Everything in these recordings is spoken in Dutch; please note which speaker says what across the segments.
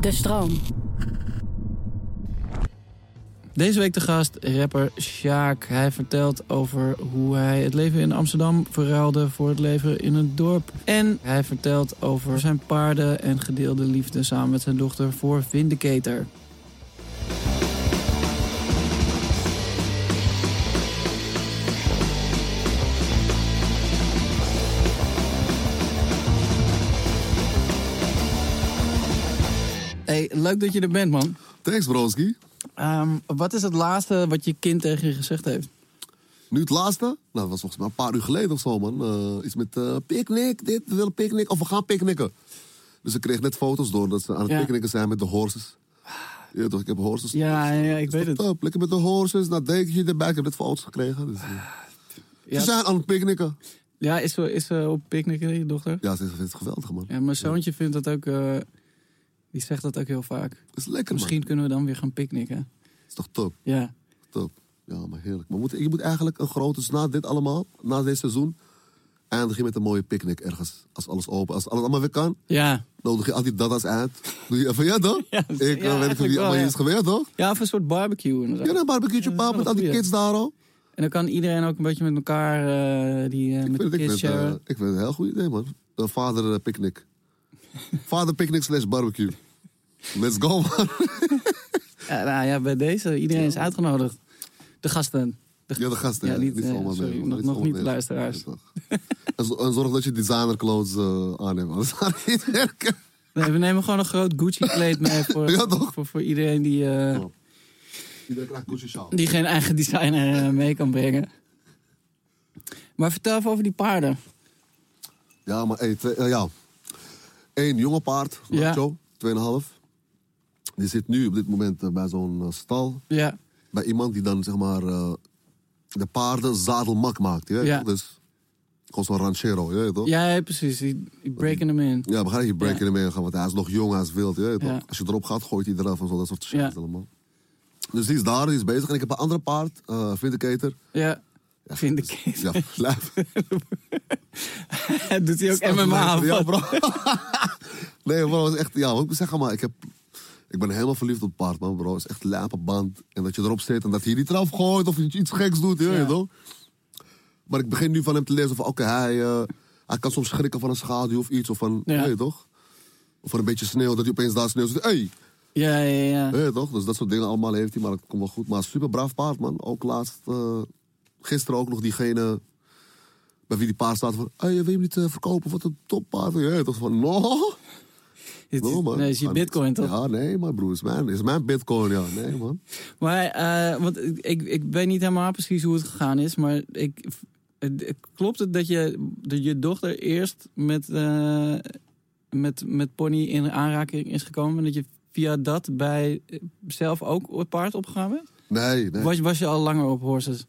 Speaker 1: De stroom.
Speaker 2: Deze week de gast, rapper Sjaak. Hij vertelt over hoe hij het leven in Amsterdam verruilde voor het leven in het dorp. En hij vertelt over zijn paarden en gedeelde liefde samen met zijn dochter voor Vindicator. Hey, leuk dat je er bent, man.
Speaker 3: Thanks, Broski.
Speaker 2: Ehm, wat is het laatste wat je kind tegen je gezegd heeft?
Speaker 3: Nu het laatste. Nou, dat was volgens mij een paar uur geleden of zo, man. Eh, iets met eh picknick, dit, we willen picknick. Of we gaan picknicken. Dus ik kreeg net foto's door dat ze aan het
Speaker 2: Ja.
Speaker 3: picknicken zijn met de horses. Ja, toch, ik heb horses.
Speaker 2: Ja, ja ik weet het.
Speaker 3: Top, lekker met de horses. Nou, dekentje erbij. Ik heb net foto's gekregen. Dus, eh. Ze
Speaker 2: Ja,
Speaker 3: zijn aan het picknicken.
Speaker 2: ja is, ze, is ze op picknick, je dochter?
Speaker 3: Ja, ze vindt het geweldig, man.
Speaker 2: Ja, mijn zoontje vindt dat ook... eh, die zegt dat ook heel vaak.
Speaker 3: Het is lekker,
Speaker 2: Misschien
Speaker 3: man.
Speaker 2: kunnen we dan weer gaan picknicken.
Speaker 3: Het is toch top,
Speaker 2: Ja.
Speaker 3: top. Ja, maar heerlijk. Maar moet, je moet eigenlijk een grote... Dus na dit allemaal, na dit seizoen... eindig je met een mooie picknick ergens. Als alles open, als alles allemaal weer kan...
Speaker 2: Ja.
Speaker 3: nodig je al die dada's uit. Doe je even, ja toch?
Speaker 2: Ja,
Speaker 3: ik
Speaker 2: ja,
Speaker 3: eh, weet
Speaker 2: eigenlijk
Speaker 3: niet wie
Speaker 2: wel,
Speaker 3: allemaal hier
Speaker 2: ja.
Speaker 3: is geweest, toch?
Speaker 2: Ja, of een soort barbecue inderdaad.
Speaker 3: Ja, een barbecue
Speaker 2: dat is
Speaker 3: pap met
Speaker 2: wel
Speaker 3: al die
Speaker 2: een
Speaker 3: kids daar al.
Speaker 2: En dan kan iedereen ook een beetje met elkaar... eh, die, eh,
Speaker 3: Ik
Speaker 2: met
Speaker 3: vind,
Speaker 2: de
Speaker 3: het- ik,
Speaker 2: kids
Speaker 3: vind, het, eh,
Speaker 2: sharen.
Speaker 3: ik vind het een heel goed idee, man. De vader eh, picnic. vader picnic slash barbecue. Let's go, man.
Speaker 2: Ja, nou ja, bij deze. Iedereen is uitgenodigd. De gasten. De
Speaker 3: Ja, de gasten.
Speaker 2: Ja,
Speaker 3: hè.
Speaker 2: niet, eh,
Speaker 3: allemaal
Speaker 2: sorry,
Speaker 3: mee, man.
Speaker 2: nog- nog
Speaker 3: allemaal
Speaker 2: niet
Speaker 3: mee.
Speaker 2: de luisteraars.
Speaker 3: Ja, toch. en, zo- en zorg dat je designer clothes eh, aanneemt, anders gaat het niet werken.
Speaker 2: Nee, we nemen gewoon een groot Gucci-kleed mee voor,
Speaker 3: Ja, toch?
Speaker 2: voor, voor iedereen die, eh,
Speaker 3: Ja. Iedereen krijgt Gucci sjaal.
Speaker 2: die geen eigen designer eh, mee kan brengen. Maar vertel even over die paarden.
Speaker 3: Ja, maar hey, twee, eh, ja. Eén jonge paard,
Speaker 2: Ja.
Speaker 3: Nacho, 2,5. Die zit nu op dit moment eh, bij zo'n eh, stal.
Speaker 2: Ja,
Speaker 3: Bij iemand die dan zeg maar eh, de paarden zadelmak maakt. Je weet
Speaker 2: Ja.
Speaker 3: toch? Dus gewoon zo'n ranchero, je weet toch?
Speaker 2: ja, ja, precies. Die, die breken hem in.
Speaker 3: Ja, begrijp je? Je breekt ermee gaan, want hij is nog jong, hij is wild, je weet
Speaker 2: Ja.
Speaker 3: toch? Als je erop gaat, gooit hij eraf en zo, dat soort shit
Speaker 2: Ja.
Speaker 3: allemaal. Dus die is daar, die is bezig. En ik heb een andere paard, eh Vindicator.
Speaker 2: Ja. Vind ik.
Speaker 3: Ja, lijf.
Speaker 2: Doet hij ook MMA? of wat?
Speaker 3: Ja, bro. nee, bro, het is echt... Ja, wat ik moet zeggen, maar ik heb... Ik ben helemaal verliefd op het paard, man, bro. Het is echt lijpe band. En dat je erop zit en dat hij niet eraf gooit of iets geks doet, je
Speaker 2: Ja.
Speaker 3: weet toch? Maar ik begin nu van hem te lezen van... Oké, hij, eh, hij kan soms schrikken van een schaduw of iets. Of van,
Speaker 2: Ja.
Speaker 3: weet je toch? Of van een beetje sneeuw, dat hij opeens daar sneeuw zit. Hey,
Speaker 2: Ja, ja, ja.
Speaker 3: weet je toch? Dus dat soort dingen allemaal heeft hij, maar het komt wel goed. Maar super braaf paard, man. Ook laatst... eh, gisteren ook nog diegene bij wie die paard staat van... Hey, wil je hem niet eh, verkopen? Wat een toppaard. Je weet toch? Van, no...
Speaker 2: Dit is-
Speaker 3: No, man.
Speaker 2: nee, is je
Speaker 3: Ah,
Speaker 2: bitcoin toch?
Speaker 3: Ja, nee, maar broer, is mijn, is mijn bitcoin, ja. Nee, man.
Speaker 2: Maar, eh, want ik- ik, ik weet niet helemaal precies hoe het gegaan is, maar ik, het- het- klopt het dat je, dat je dochter eerst met, eh, met, met pony in aanraking is gekomen en dat je via dat bij zelf ook op het paard opgegaan bent?
Speaker 3: Nee, nee.
Speaker 2: Was, was je al langer op horses?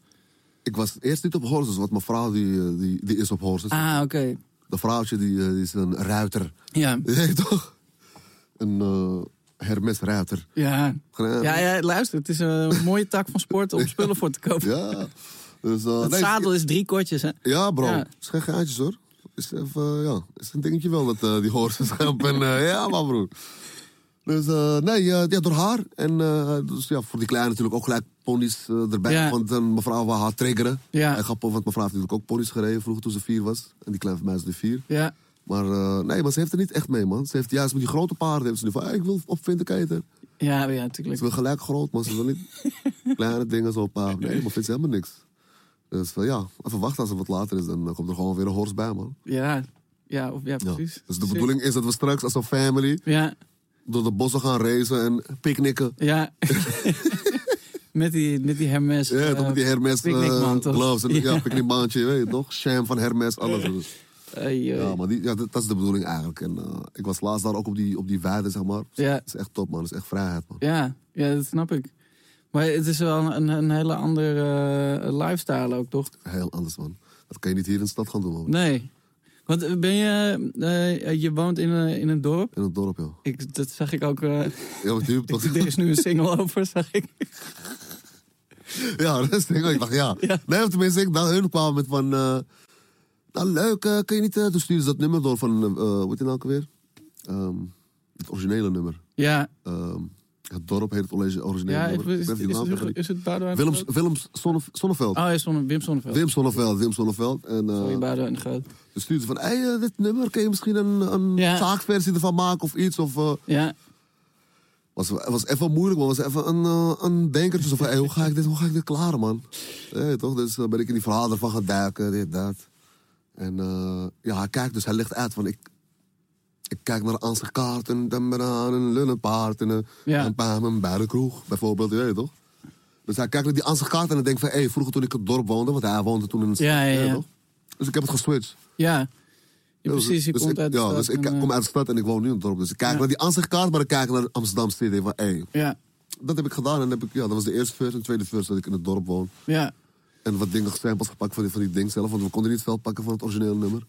Speaker 3: Ik was eerst niet op horses, want mijn vrouw die, eh, die, die is op horses.
Speaker 2: Ah, oké.
Speaker 3: De vrouwtje die, eh, die is een ruiter.
Speaker 2: Ja.
Speaker 3: Je weet toch? Een eh, Hermes ruiter.
Speaker 2: Ja.
Speaker 3: Geen-
Speaker 2: Ja, ja, luister, het is een mooie tak van sport om spullen voor te kopen.
Speaker 3: Ja. Dus, eh,
Speaker 2: Het
Speaker 3: nee,
Speaker 2: zadel is drie kortjes, hè?
Speaker 3: Ja, bro.
Speaker 2: Ja.
Speaker 3: Het is geen geintjes, hoor. Is even, eh, ja, is een dingetje wel dat eh, die horses helpen. En, eh, ja, maar broer. Dus eh, nee, eh, ja, door haar. En eh, dus, ja, voor die kleine natuurlijk ook gelijk ponies eh, erbij.
Speaker 2: Ja.
Speaker 3: Want dan mevrouw wou haar triggeren.
Speaker 2: Ja.
Speaker 3: En grappig, want mevrouw heeft natuurlijk ook ponies gereden vroeger toen ze vier was. En die kleine van mij is nu vier.
Speaker 2: Ja.
Speaker 3: Maar eh, nee, maar ze heeft er niet echt mee, man. Ze heeft juist met die grote paarden. Heeft ze nu van, hey, ik wil op vinterkijter.
Speaker 2: Ja, ja,
Speaker 3: Ze
Speaker 2: natuurlijk.
Speaker 3: wil gelijk groot, man. Ze wil niet kleine dingen zo paar. Nee, maar vindt ze helemaal niks. Dus van, ja, even wachten als het wat later is. Dan eh, komt er gewoon weer een horst bij, man.
Speaker 2: Ja, ja, of, ja
Speaker 3: Ja.
Speaker 2: precies.
Speaker 3: Dus de bedoeling is dat we straks als een family
Speaker 2: Ja,
Speaker 3: door de bossen gaan racen en picknicken.
Speaker 2: ja. met, die, met die Hermes.
Speaker 3: Ja, toch
Speaker 2: eh,
Speaker 3: met die Hermes eh,
Speaker 2: picknickmantel.
Speaker 3: gloves. En, ja, picknickmandje, je weet je toch? Sham van Hermes, alles. Dus,
Speaker 2: Ai, joh.
Speaker 3: ja, maar die, ja, dat, dat is de bedoeling eigenlijk. En eh, ik was laatst daar ook op die, op die weide, zeg maar.
Speaker 2: Ja.
Speaker 3: Dat is echt top, man. Dat is echt vrijheid, man.
Speaker 2: Ja, ja, dat snap ik. Maar het is wel een, een hele andere eh, lifestyle ook, toch?
Speaker 3: Heel anders, man. Dat kan je niet hier in de stad gaan doen, man.
Speaker 2: Nee. Want eh, ben je... eh, je woont in, een- in een dorp.
Speaker 3: In het dorp, joh.
Speaker 2: Ik, dat zag ik ook... eh,
Speaker 3: Ja, wat duur toch?
Speaker 2: er is nu een single over, zag ik.
Speaker 3: Ja, dat is het ding. Ik dacht, ja. Nee, of tenminste, ik dacht, hun kwamen met van... eh, nou, leuk, eh, kun je niet... eh, toen stuurden ze dat nummer door van... eh hoe heet die nou ook alweer? Ehm, het originele nummer.
Speaker 2: Ja,
Speaker 3: Ehm, het dorp heet het origi- originele
Speaker 2: ja is,
Speaker 3: nummer.
Speaker 2: is,
Speaker 3: Ik ben die
Speaker 2: is,
Speaker 3: naam even
Speaker 2: het,
Speaker 3: niet.
Speaker 2: is het Boudewijn
Speaker 3: Willems,
Speaker 2: Groot?
Speaker 3: Willems Sonne- Sonneveld.
Speaker 2: Oh, is Sonne, Wim Sonneveld.
Speaker 3: Wim Sonneveld, Wim Sonneveld. En eh,
Speaker 2: Sorry, Boudewijn Groot.
Speaker 3: toen stuurden ze van... Hey, eh, dit nummer, kun je misschien een, een
Speaker 2: Ja.
Speaker 3: zaakversie ervan maken of iets? Of, eh,
Speaker 2: Ja,
Speaker 3: was, was even moeilijk, man. Was even een, eh, een denkertje. Zo van, hey, hoe, ga ik dit, hoe ga ik dit klaren, man? Hey, toch? Dus eh, ben ik in die verhalen ervan gaan duiken, dit, dat. En eh, ja, hij kijkt dus, hij legt uit van... Ik, ik kijk naar Ansterkaart en Demberaan en Lunnenpaard eh, en een
Speaker 2: Ja.
Speaker 3: een paar en bij de kroeg, bijvoorbeeld. Je weet toch? Dus hij kijkt naar die Ansterkaart en hij denkt van... Hé, hey, vroeger toen ik in het dorp woonde, want hij woonde toen in een stad.
Speaker 2: Ja, ja,
Speaker 3: je weet
Speaker 2: ja.
Speaker 3: toch? Dus ik heb het geswitcht.
Speaker 2: ja. Ja, precies, je
Speaker 3: dus
Speaker 2: komt
Speaker 3: ik,
Speaker 2: uit de
Speaker 3: ja,
Speaker 2: stad
Speaker 3: dus ik
Speaker 2: en, eh,
Speaker 3: kom uit de stad en ik woon nu in het dorp. Dus ik kijk
Speaker 2: Ja.
Speaker 3: naar die Ansterkaart, maar ik kijk naar Amsterdam City. en Van, hey,
Speaker 2: Ja,
Speaker 3: dat heb ik gedaan. En heb ik, ja, dat was de eerste verse en de tweede verse dat ik in het dorp woon.
Speaker 2: ja.
Speaker 3: En wat dingen samples gepakt van die, van die ding zelf. Want we konden niet veel pakken van het originele nummer.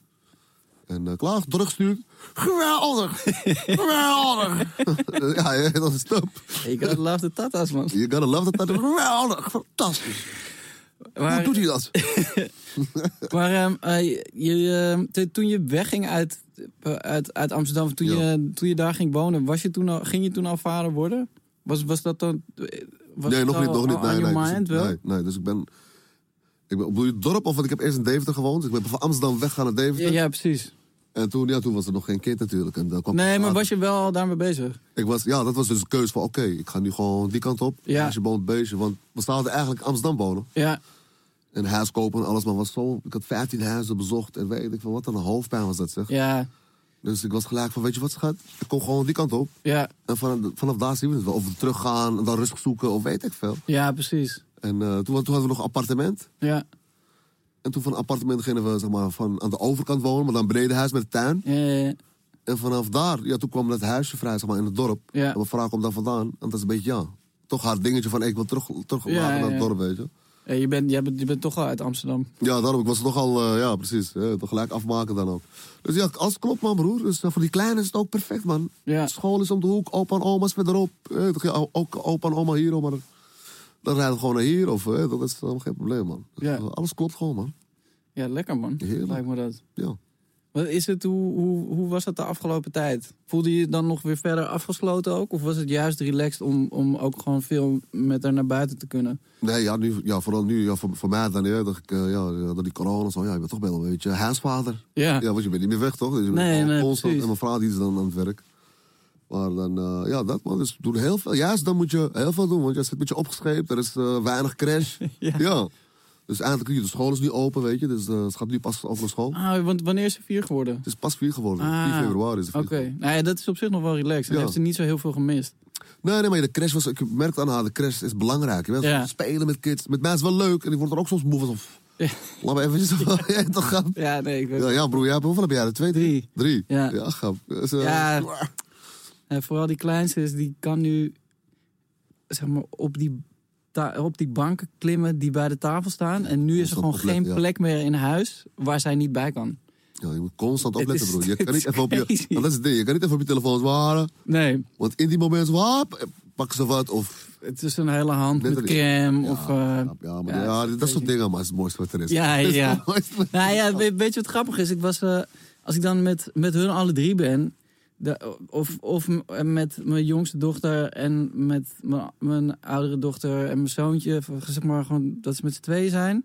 Speaker 3: En eh klaar, teruggestuurd. Geweldig! Geweldig! ja, ja, dat is top.
Speaker 2: Ik had love the tatas, man.
Speaker 3: You gotta love that. Geweldig! Fantastisch! Hoe
Speaker 2: Maar-
Speaker 3: doet hij dat?
Speaker 2: Maar ehm, eh, je- je, eh, te- toen je wegging uit, eh, uit, uit Amsterdam, toen,
Speaker 3: Ja.
Speaker 2: je, toen je daar ging wonen, was je toen al, ging je toen al vader worden? Was, was dat dan. eh, Was
Speaker 3: nee,
Speaker 2: het
Speaker 3: nog
Speaker 2: al
Speaker 3: niet, nog niet.
Speaker 2: on
Speaker 3: Nee,
Speaker 2: your
Speaker 3: nee,
Speaker 2: mind
Speaker 3: dus,
Speaker 2: wel?
Speaker 3: nee, nee, dus ik ben... Ik ben bedoel je het dorp of want ik heb eerst in Deventer gewoond. Ik ben van Amsterdam weggegaan naar Deventer.
Speaker 2: Ja, ja, precies.
Speaker 3: En toen, ja, toen was er nog geen kind natuurlijk. En, dan kwam Ah,
Speaker 2: Nee, maar
Speaker 3: later.
Speaker 2: was je wel al daarmee bezig?
Speaker 3: Ik was, ja, dat was dus de keuze van, oké, ik ga nu gewoon die kant op.
Speaker 2: Ja.
Speaker 3: Als je woont beestje, want we zouden eigenlijk in Amsterdam wonen.
Speaker 2: Ja,
Speaker 3: En huis kopen en alles, maar was zo... Ik had 15 huizen bezocht en weet ik van wat een hoofdpijn was dat, zeg.
Speaker 2: ja,
Speaker 3: Dus ik was gelijk van, weet je wat, schat? Ik kom gewoon die kant op.
Speaker 2: ja,
Speaker 3: En vanaf, vanaf daar zien we het wel. Of we teruggaan en dan rustig zoeken of weet ik veel.
Speaker 2: ja, precies.
Speaker 3: En eh, toen, toen hadden we nog een appartement.
Speaker 2: Ja,
Speaker 3: En toen van een appartement gingen we zeg maar, van aan de overkant wonen, maar dan beneden huis met de tuin.
Speaker 2: ja, ja, ja.
Speaker 3: En vanaf daar, ja, toen kwam dat huisje vrij, zeg maar, in het dorp.
Speaker 2: Ja.
Speaker 3: En mijn vrouw komt daar vandaan. En dat is een beetje, ja, toch haar dingetje van, hey, ik wil terug, terug
Speaker 2: Ja,
Speaker 3: naar
Speaker 2: ja.
Speaker 3: het dorp, weet je.
Speaker 2: Eh, je, bent, je, bent, je bent toch al uit Amsterdam.
Speaker 3: Ja, daarom, ik was nogal, eh ja, precies. Ja, toch gelijk afmaken dan ook. Dus ja, alles klopt, man, broer. Dus eh, voor die kleine is het ook perfect, man.
Speaker 2: Ja.
Speaker 3: School is om de hoek, opa en oma is verderop. Eh, toch, ja, ook opa en oma hier, maar dan rijden we gewoon naar hier. Of, eh, dat is helemaal geen probleem, man. Dus,
Speaker 2: Ja.
Speaker 3: eh, alles klopt gewoon, man.
Speaker 2: Ja, lekker man.
Speaker 3: Heerlijk.
Speaker 2: Lijkt me dat.
Speaker 3: Ja.
Speaker 2: Wat is het, hoe, hoe, hoe was dat de afgelopen tijd? Voelde je je dan nog weer verder afgesloten ook? Of was het juist relaxed om, om ook gewoon veel met haar naar buiten te kunnen?
Speaker 3: Nee, ja, nu, ja vooral nu, ja, voor, voor mij dan, ja, dat ik, eh, ja, ja, door die corona en zo, ja, je bent toch wel een beetje huisvader.
Speaker 2: Ja,
Speaker 3: Ja, want je bent niet meer weg, toch? Dus je
Speaker 2: Nee,
Speaker 3: bent gewoon
Speaker 2: nee,
Speaker 3: constant.
Speaker 2: precies.
Speaker 3: En mijn vrouw die is dan aan het werk. Maar dan, eh, ja, dat man. Dus doen heel veel. Juist dan moet je heel veel doen, want je zit een beetje opgescheept. Er is eh, weinig crash. ja. Dus eigenlijk, de school is nu open, weet je. Dus eh, ze gaat nu pas over naar school.
Speaker 2: Ah, want wanneer is ze vier geworden?
Speaker 3: Het is pas 4 geworden.
Speaker 2: Ah,
Speaker 3: 4 februari is het.
Speaker 2: Oké, nou ja, dat is op zich nog wel relaxed. Dan
Speaker 3: Ja.
Speaker 2: heeft ze niet zo heel veel gemist.
Speaker 3: Nee, nee, maar de crash was... Ik merkte aan haar, de crash is belangrijk. Je weet,
Speaker 2: Ja.
Speaker 3: Spelen met kids. Met mij is wel leuk. En die wordt er ook soms moe van. zo, pff,
Speaker 2: Ja.
Speaker 3: Laat me eventjes... Ja, toch, grap.
Speaker 2: Ja, nee, ik weet
Speaker 3: Ja, ja, broer, jij, hebt- hoeveel heb jij er? Twee?
Speaker 2: Drie.
Speaker 3: Drie?
Speaker 2: Ja.
Speaker 3: Ja, grap. Dus, eh,
Speaker 2: Ja. Eh, Vooral die kleinste is, die kan nu zeg maar, op, die ta- op die banken klimmen die bij de tafel staan. En nu is er
Speaker 3: dat
Speaker 2: gewoon
Speaker 3: op plek,
Speaker 2: geen
Speaker 3: ja.
Speaker 2: plek meer in huis waar zij niet bij kan.
Speaker 3: Ja, je moet constant
Speaker 2: Het
Speaker 3: opletten,
Speaker 2: is-
Speaker 3: broer. Je
Speaker 2: het
Speaker 3: kan niet
Speaker 2: is
Speaker 3: even op
Speaker 2: crazy.
Speaker 3: je... want Dat is het ding. Je kan niet even op je telefoon zwaren.
Speaker 2: Nee,
Speaker 3: Want in die moment, wap, pakken ze wat. Of...
Speaker 2: het is een hele hand
Speaker 3: Net
Speaker 2: met
Speaker 3: een-
Speaker 2: crème
Speaker 3: Ja,
Speaker 2: of... eh,
Speaker 3: grap, ja, maar
Speaker 2: ja,
Speaker 3: ja,
Speaker 2: het is
Speaker 3: dat soort
Speaker 2: crazy.
Speaker 3: dingen. Maar het is het mooiste wat er is.
Speaker 2: Ja,
Speaker 3: Het is
Speaker 2: ja.
Speaker 3: het mooiste wat-
Speaker 2: Nou ja, weet, weet je wat grappig is? Ik was, eh, als ik dan met, met hun alle drie ben, de- of, of m- eh, met mijn jongste dochter en met mijn, mijn oudere dochter en mijn zoontje, van, zeg maar gewoon dat ze met z'n tweeën zijn,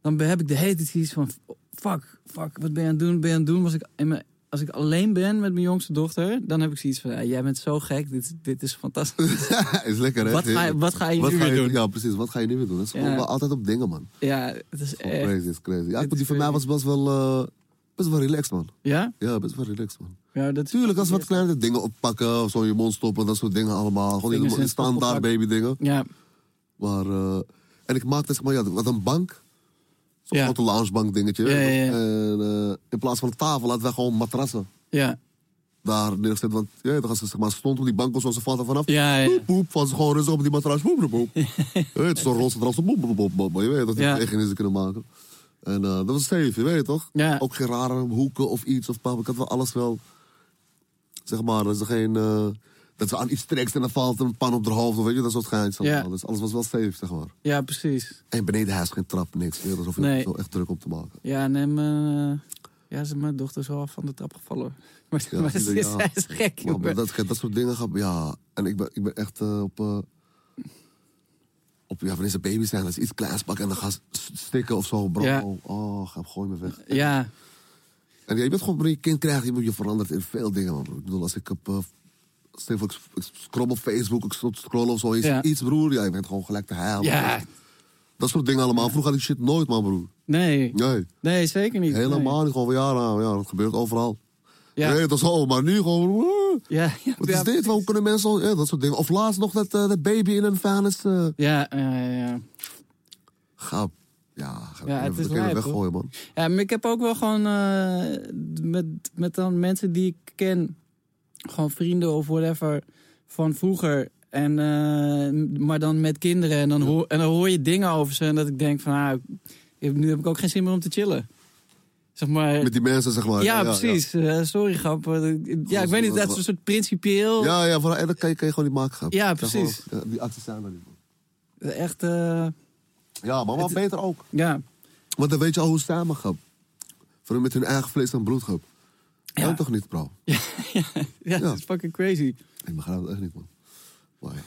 Speaker 2: dan heb ik de hele tijd iets van: fuck, fuck, wat ben je aan het doen? Ben je aan het doen? Was ik in mijn als ik alleen ben met mijn jongste dochter, dan heb ik zoiets van, "Ah, jij bent zo gek, dit, dit is fantastisch.
Speaker 3: is lekker, hè?
Speaker 2: Wat ga je- wat ga je nu weer doen?
Speaker 3: Ja, precies. Wat ga je nu weer doen? Dat is gewoon
Speaker 2: Ja.
Speaker 3: wel altijd op dingen, man.
Speaker 2: Ja, het is
Speaker 3: Gewoon
Speaker 2: echt.
Speaker 3: crazy, is crazy. Ja,
Speaker 2: Dit
Speaker 3: die
Speaker 2: is
Speaker 3: voor mij was
Speaker 2: crazy.
Speaker 3: best wel, eh, best wel relaxed, man.
Speaker 2: Ja?
Speaker 3: Ja, best wel relaxed, man.
Speaker 2: ja dat is-
Speaker 3: Tuurlijk, als we wat kleinere dingen oppakken, of zo in je mond stoppen, dat soort dingen allemaal. Gewoon
Speaker 2: Vingers in
Speaker 3: helemaal
Speaker 2: het stof
Speaker 3: standaard
Speaker 2: oppakken.
Speaker 3: baby dingen.
Speaker 2: Ja,
Speaker 3: Maar, eh, en ik maakte zeg maar, ja, ik had een bank. Zo'n
Speaker 2: Ja.
Speaker 3: grote loungebank dingetje.
Speaker 2: Ja, ja, ja.
Speaker 3: En eh, in plaats van een tafel hadden wij gewoon matrassen
Speaker 2: ja,
Speaker 3: daar neergezet. Want ja, als ze zeg maar, stond op die bank of zo, ze valt er vanaf.
Speaker 2: ja, ja.
Speaker 3: Poep, poep, van ze gewoon rustig op die matras. Poep, poep, poep. Ja, het is zo'n roze matras. Boep, boep, boep, boep. Maar je weet dat die
Speaker 2: Ja.
Speaker 3: echt in ze kunnen maken. En eh, dat was safe, je weet toch?
Speaker 2: Ja.
Speaker 3: Ook geen rare hoeken of iets. Of, pap. ik had wel alles wel, zeg maar, er is er geen... eh, dat ze aan iets trekt en dan valt een pan op haar hoofd. Of weet je, dat soort geins.
Speaker 2: Ja.
Speaker 3: allemaal. Dus alles was wel safe, zeg maar.
Speaker 2: ja, precies.
Speaker 3: En beneden huis geen trap, niks. Meer, alsof je
Speaker 2: Nee.
Speaker 3: er zo echt druk op te maken.
Speaker 2: Ja, nee, mijn, eh, ja, ze- mijn dochter is wel van de trap gevallen. Maar,
Speaker 3: Ja,
Speaker 2: maar
Speaker 3: zie
Speaker 2: ze
Speaker 3: je, ja.
Speaker 2: zij is gek,
Speaker 3: Maar
Speaker 2: jongen.
Speaker 3: dat, dat soort dingen gaat. Ja, en ik ben, ik ben echt eh, op. eh, op ja, wanneer ze baby zijn, dat ze iets kleins pakken en dan gaan ze s- stikken of zo. Bro,
Speaker 2: Ja.
Speaker 3: oh, ga, gooi me weg.
Speaker 2: Ja,
Speaker 3: En ja, je bent gewoon, wanneer je kind krijgt, je, moet- je verandert in veel dingen, man. Ik bedoel, als ik op. eh, stel voor, ik, s- ik scroll op Facebook, ik s- scroll of zo, je ziet
Speaker 2: Ja.
Speaker 3: iets, broer. Ja, je bent gewoon gelijk te huilen.
Speaker 2: ja,
Speaker 3: Dat soort dingen allemaal. Vroeger had ik shit nooit, man, broer.
Speaker 2: nee.
Speaker 3: Nee,
Speaker 2: Nee, zeker niet.
Speaker 3: helemaal niet. Gewoon van, ja, nou, ja, dat gebeurt overal.
Speaker 2: Nee. Ja,
Speaker 3: Nee, dat is zo, maar nu gewoon... broer.
Speaker 2: ja, ja.
Speaker 3: Wat
Speaker 2: ja,
Speaker 3: is dit? Waarom kunnen mensen al... Ja, dat soort dingen. Of laatst nog dat, eh, dat baby in een vuilnis... eh
Speaker 2: Ja, ja, ja, ja.
Speaker 3: ga... Ja, ga
Speaker 2: Ja,
Speaker 3: ja,
Speaker 2: het is
Speaker 3: even de
Speaker 2: lijp,
Speaker 3: kinderen weggooien, man.
Speaker 2: Ja, maar ik heb ook wel gewoon eh, met, met dan mensen die ik ken, gewoon vrienden of whatever van vroeger. En, eh, maar dan met kinderen en dan, hoor, en dan hoor je dingen over ze en dat ik denk van, ah, ik- nu heb ik ook geen zin meer om te chillen. Zeg maar,
Speaker 3: Met die mensen, zeg maar.
Speaker 2: ja, precies. Eh, sorry, grap. Eh, Ja, ik weet niet, dat is een soort principieel.
Speaker 3: Ja, ja, van, en dat kan je, kan je gewoon niet maken, grap.
Speaker 2: Ja,
Speaker 3: Ik zeg
Speaker 2: precies.
Speaker 3: gewoon, ja, die acties zijn er niet, man.
Speaker 2: Echt, eh,
Speaker 3: Ja, maar wat beter ook.
Speaker 2: ja.
Speaker 3: Want dan weet je al hoe ze samen gaan. Voor met hun eigen vlees en bloed, grap.
Speaker 2: Ja.
Speaker 3: Kan toch niet, bro?
Speaker 2: ja, dat is fucking crazy.
Speaker 3: Ik begrijp het echt niet, man. Maar ja.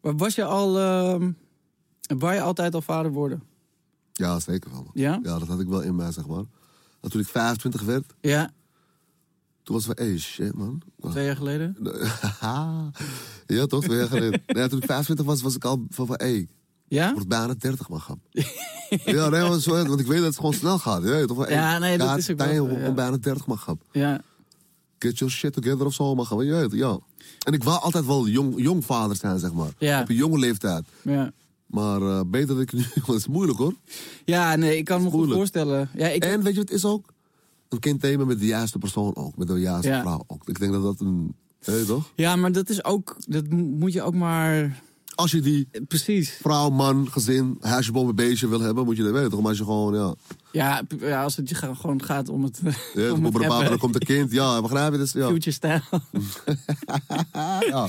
Speaker 2: Maar was je al, ehm waar je altijd al vader worden?
Speaker 3: ja, zeker wel, man.
Speaker 2: Ja?
Speaker 3: Ja, dat had ik wel in mij, zeg maar. En toen ik 25 werd,
Speaker 2: Ja,
Speaker 3: toen was het van... Hey, shit, man.
Speaker 2: twee jaar geleden.
Speaker 3: ja, toch? Twee jaar geleden. Nee, toen ik 25 was, was ik al van, van hey,
Speaker 2: Ja?
Speaker 3: ik word bijna 30, man. Grap. ja, nee, want, zo- want ik weet dat het gewoon snel gaat. Je weet toch? Van, hey,
Speaker 2: Ja, nee, dat
Speaker 3: gaat
Speaker 2: is ook
Speaker 3: tijd
Speaker 2: wel
Speaker 3: om-
Speaker 2: zo, ja.
Speaker 3: om bijna 30, man. Grap.
Speaker 2: Ja,
Speaker 3: Get your shit together of zo, man. Grap. Je weet, het, ja. En ik wou altijd wel jong, jong vader zijn, zeg maar.
Speaker 2: Ja.
Speaker 3: Op een jonge leeftijd.
Speaker 2: ja.
Speaker 3: Maar eh, beter dat ik nu... want het is moeilijk, hoor.
Speaker 2: Ja, nee, ik kan me goed
Speaker 3: Moeilijk.
Speaker 2: voorstellen. Ja, ik,
Speaker 3: En weet je wat het is ook? Een kind nemen met de juiste persoon ook. Met de juiste
Speaker 2: Ja.
Speaker 3: vrouw ook. Ik denk dat dat een... Je weet toch?
Speaker 2: ja maar dat is ook, dat mo- moet je ook maar,
Speaker 3: Als je die
Speaker 2: eh, precies.
Speaker 3: vrouw, man, gezin, huisjeboom, een beestje wil hebben, moet je dat weten. toch? Maar als je gewoon, ja.
Speaker 2: Ja, p- ja als het je ga- gewoon gaat om het,
Speaker 3: Ja,
Speaker 2: om het
Speaker 3: dan komt er een
Speaker 2: hebben.
Speaker 3: papa, dan komt een kind. Ja, begrijp je? Dus, ja.
Speaker 2: future style.
Speaker 3: ja.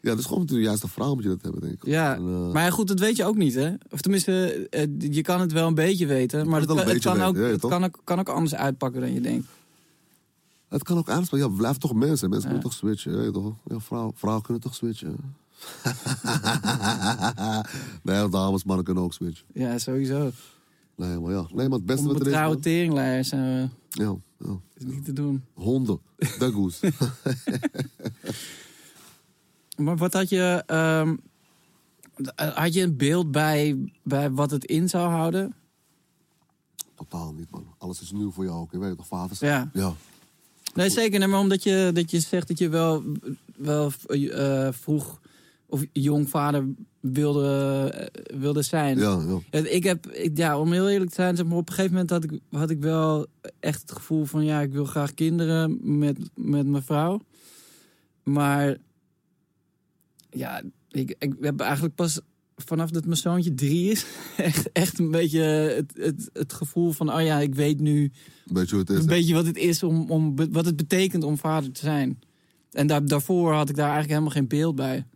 Speaker 3: Ja, dus gewoon natuurlijk juist een vrouw moet je dat hebben, denk ik.
Speaker 2: Ja,
Speaker 3: En, eh,
Speaker 2: maar ja, goed, dat weet je ook niet, hè? Of tenminste, eh, je kan het wel een beetje weten, maar
Speaker 3: het
Speaker 2: het, kan,
Speaker 3: wel een
Speaker 2: het,
Speaker 3: beetje
Speaker 2: kan, ook,
Speaker 3: weten, ja,
Speaker 2: het
Speaker 3: toch?
Speaker 2: kan, ook, kan ook anders uitpakken dan je denkt.
Speaker 3: het kan ook aanspreken. Ja, blijf toch mensen. Mensen moeten toch switchen, je weet toch? Ja, vrouw, vrouwen kunnen toch switchen. nee, dames, mannen kunnen ook switchen.
Speaker 2: Ja, sowieso.
Speaker 3: Nee, maar ja. Nee, maar het beste wat er is...
Speaker 2: Onbetrouwde
Speaker 3: man.
Speaker 2: teringleiers zijn we.
Speaker 3: Ja, ja.
Speaker 2: eh, is niet te doen.
Speaker 3: Honden. Dagoes.
Speaker 2: Maar wat had je, ehm, eh, had je een beeld bij, bij wat het in zou houden?
Speaker 3: Totaal niet, man. Alles is nieuw voor jou ook, je weet toch? Vaders.
Speaker 2: Ja.
Speaker 3: Ja.
Speaker 2: Nee, zeker. Nee, maar omdat je, dat je zegt dat je wel, wel eh, vroeg of jong vader wilde, eh, wilde zijn.
Speaker 3: Ja, ja.
Speaker 2: Het- Ik heb, ik- ja, om heel eerlijk te zijn, zeg maar, op een gegeven moment had ik, had ik wel echt het gevoel van... ja, ik wil graag kinderen met, met mijn vrouw. Maar ja, ik, ik heb eigenlijk pas vanaf dat mijn zoontje drie is... echt, echt een beetje het, het, het gevoel van, oh ja, ik weet nu
Speaker 3: Weet je hoe Dus het is?
Speaker 2: een
Speaker 3: hè?
Speaker 2: beetje wat het is om, om be- wat het betekent om vader te zijn. En daar, daarvoor had ik daar eigenlijk helemaal geen beeld bij.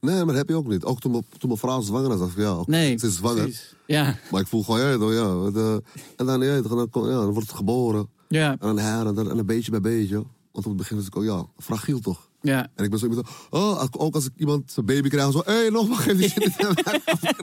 Speaker 3: Nee, maar dat heb je ook niet. Ook toen, mijn- toen mijn vrouw zwanger was, dacht ik, ja, oké,
Speaker 2: Nee,
Speaker 3: ze is zwanger.
Speaker 2: precies. Ja,
Speaker 3: Maar ik voel gewoon, ja, toch, ja. wat, eh, en dan, ja, toch, dan, kom- ja, dan wordt het geboren.
Speaker 2: ja,
Speaker 3: En dan her en dan en een beetje bij beetje. Want op het begin was ik ook, ja, fragiel toch.
Speaker 2: ja.
Speaker 3: En ik ben zo iemand, oh, als- ook als ik iemand zijn baby krijg, zo, hé, hey, nog maar geef die shit.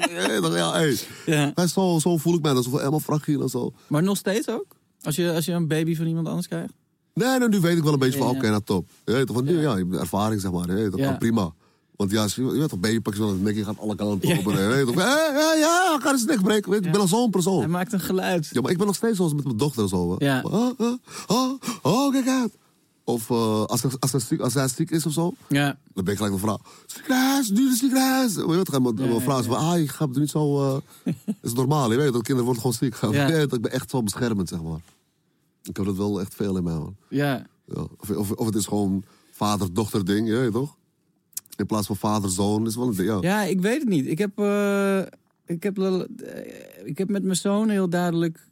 Speaker 3: Ja, toch, ja, hey.
Speaker 2: ja.
Speaker 3: Maar zo, zo voel ik mij, dat is helemaal fragiel en zo.
Speaker 2: Maar nog steeds ook? Als je, als je een baby van iemand anders krijgt?
Speaker 3: Nee, nou, nu weet ik wel een beetje van,
Speaker 2: Ja,
Speaker 3: oké,
Speaker 2: ja.
Speaker 3: nou top. Je weet toch, want nu, ja, je hebt ervaring, zeg maar. Je weet toch,
Speaker 2: Ja.
Speaker 3: kan prima. Want ja, je weet toch, babypakjes wel in het nek, je gaat alle kanten
Speaker 2: Ja.
Speaker 3: op. En, eh, je weet toch, ja, ja, ja, ga eens nek breken. Weet, je, Ik ben al zo'n
Speaker 2: Hij
Speaker 3: persoon.
Speaker 2: maakt een geluid.
Speaker 3: Ja, maar ik ben nog steeds zoals met mijn dochter en zo. hè.
Speaker 2: Ja.
Speaker 3: Oh, oh, oh, oh, kijk uit. Of eh, als, als, als, hij ziek- als hij ziek is of zo,
Speaker 2: Ja.
Speaker 3: dan ben ik gelijk een vrouw. Ziekenhuis, nu de ziekenhuis. Maar je weet toch, mijn, mijn
Speaker 2: ja,
Speaker 3: vrouw is van, ah, je gaat het niet zo... eh, het is normaal, je weet dat kinderen worden gewoon ziek.
Speaker 2: Ja.
Speaker 3: Je weet toch, ik ben echt zo beschermend, zeg maar. Ik heb dat wel echt veel in mij, man.
Speaker 2: Ja.
Speaker 3: Ja, of, of, of het is gewoon vader-dochter ding, je weet toch? In plaats van vader-zoon is wel een ding, ja.
Speaker 2: Ja, ik weet het niet. Ik heb, eh, ik heb, wel- eh, ik heb met mijn zoon heel duidelijk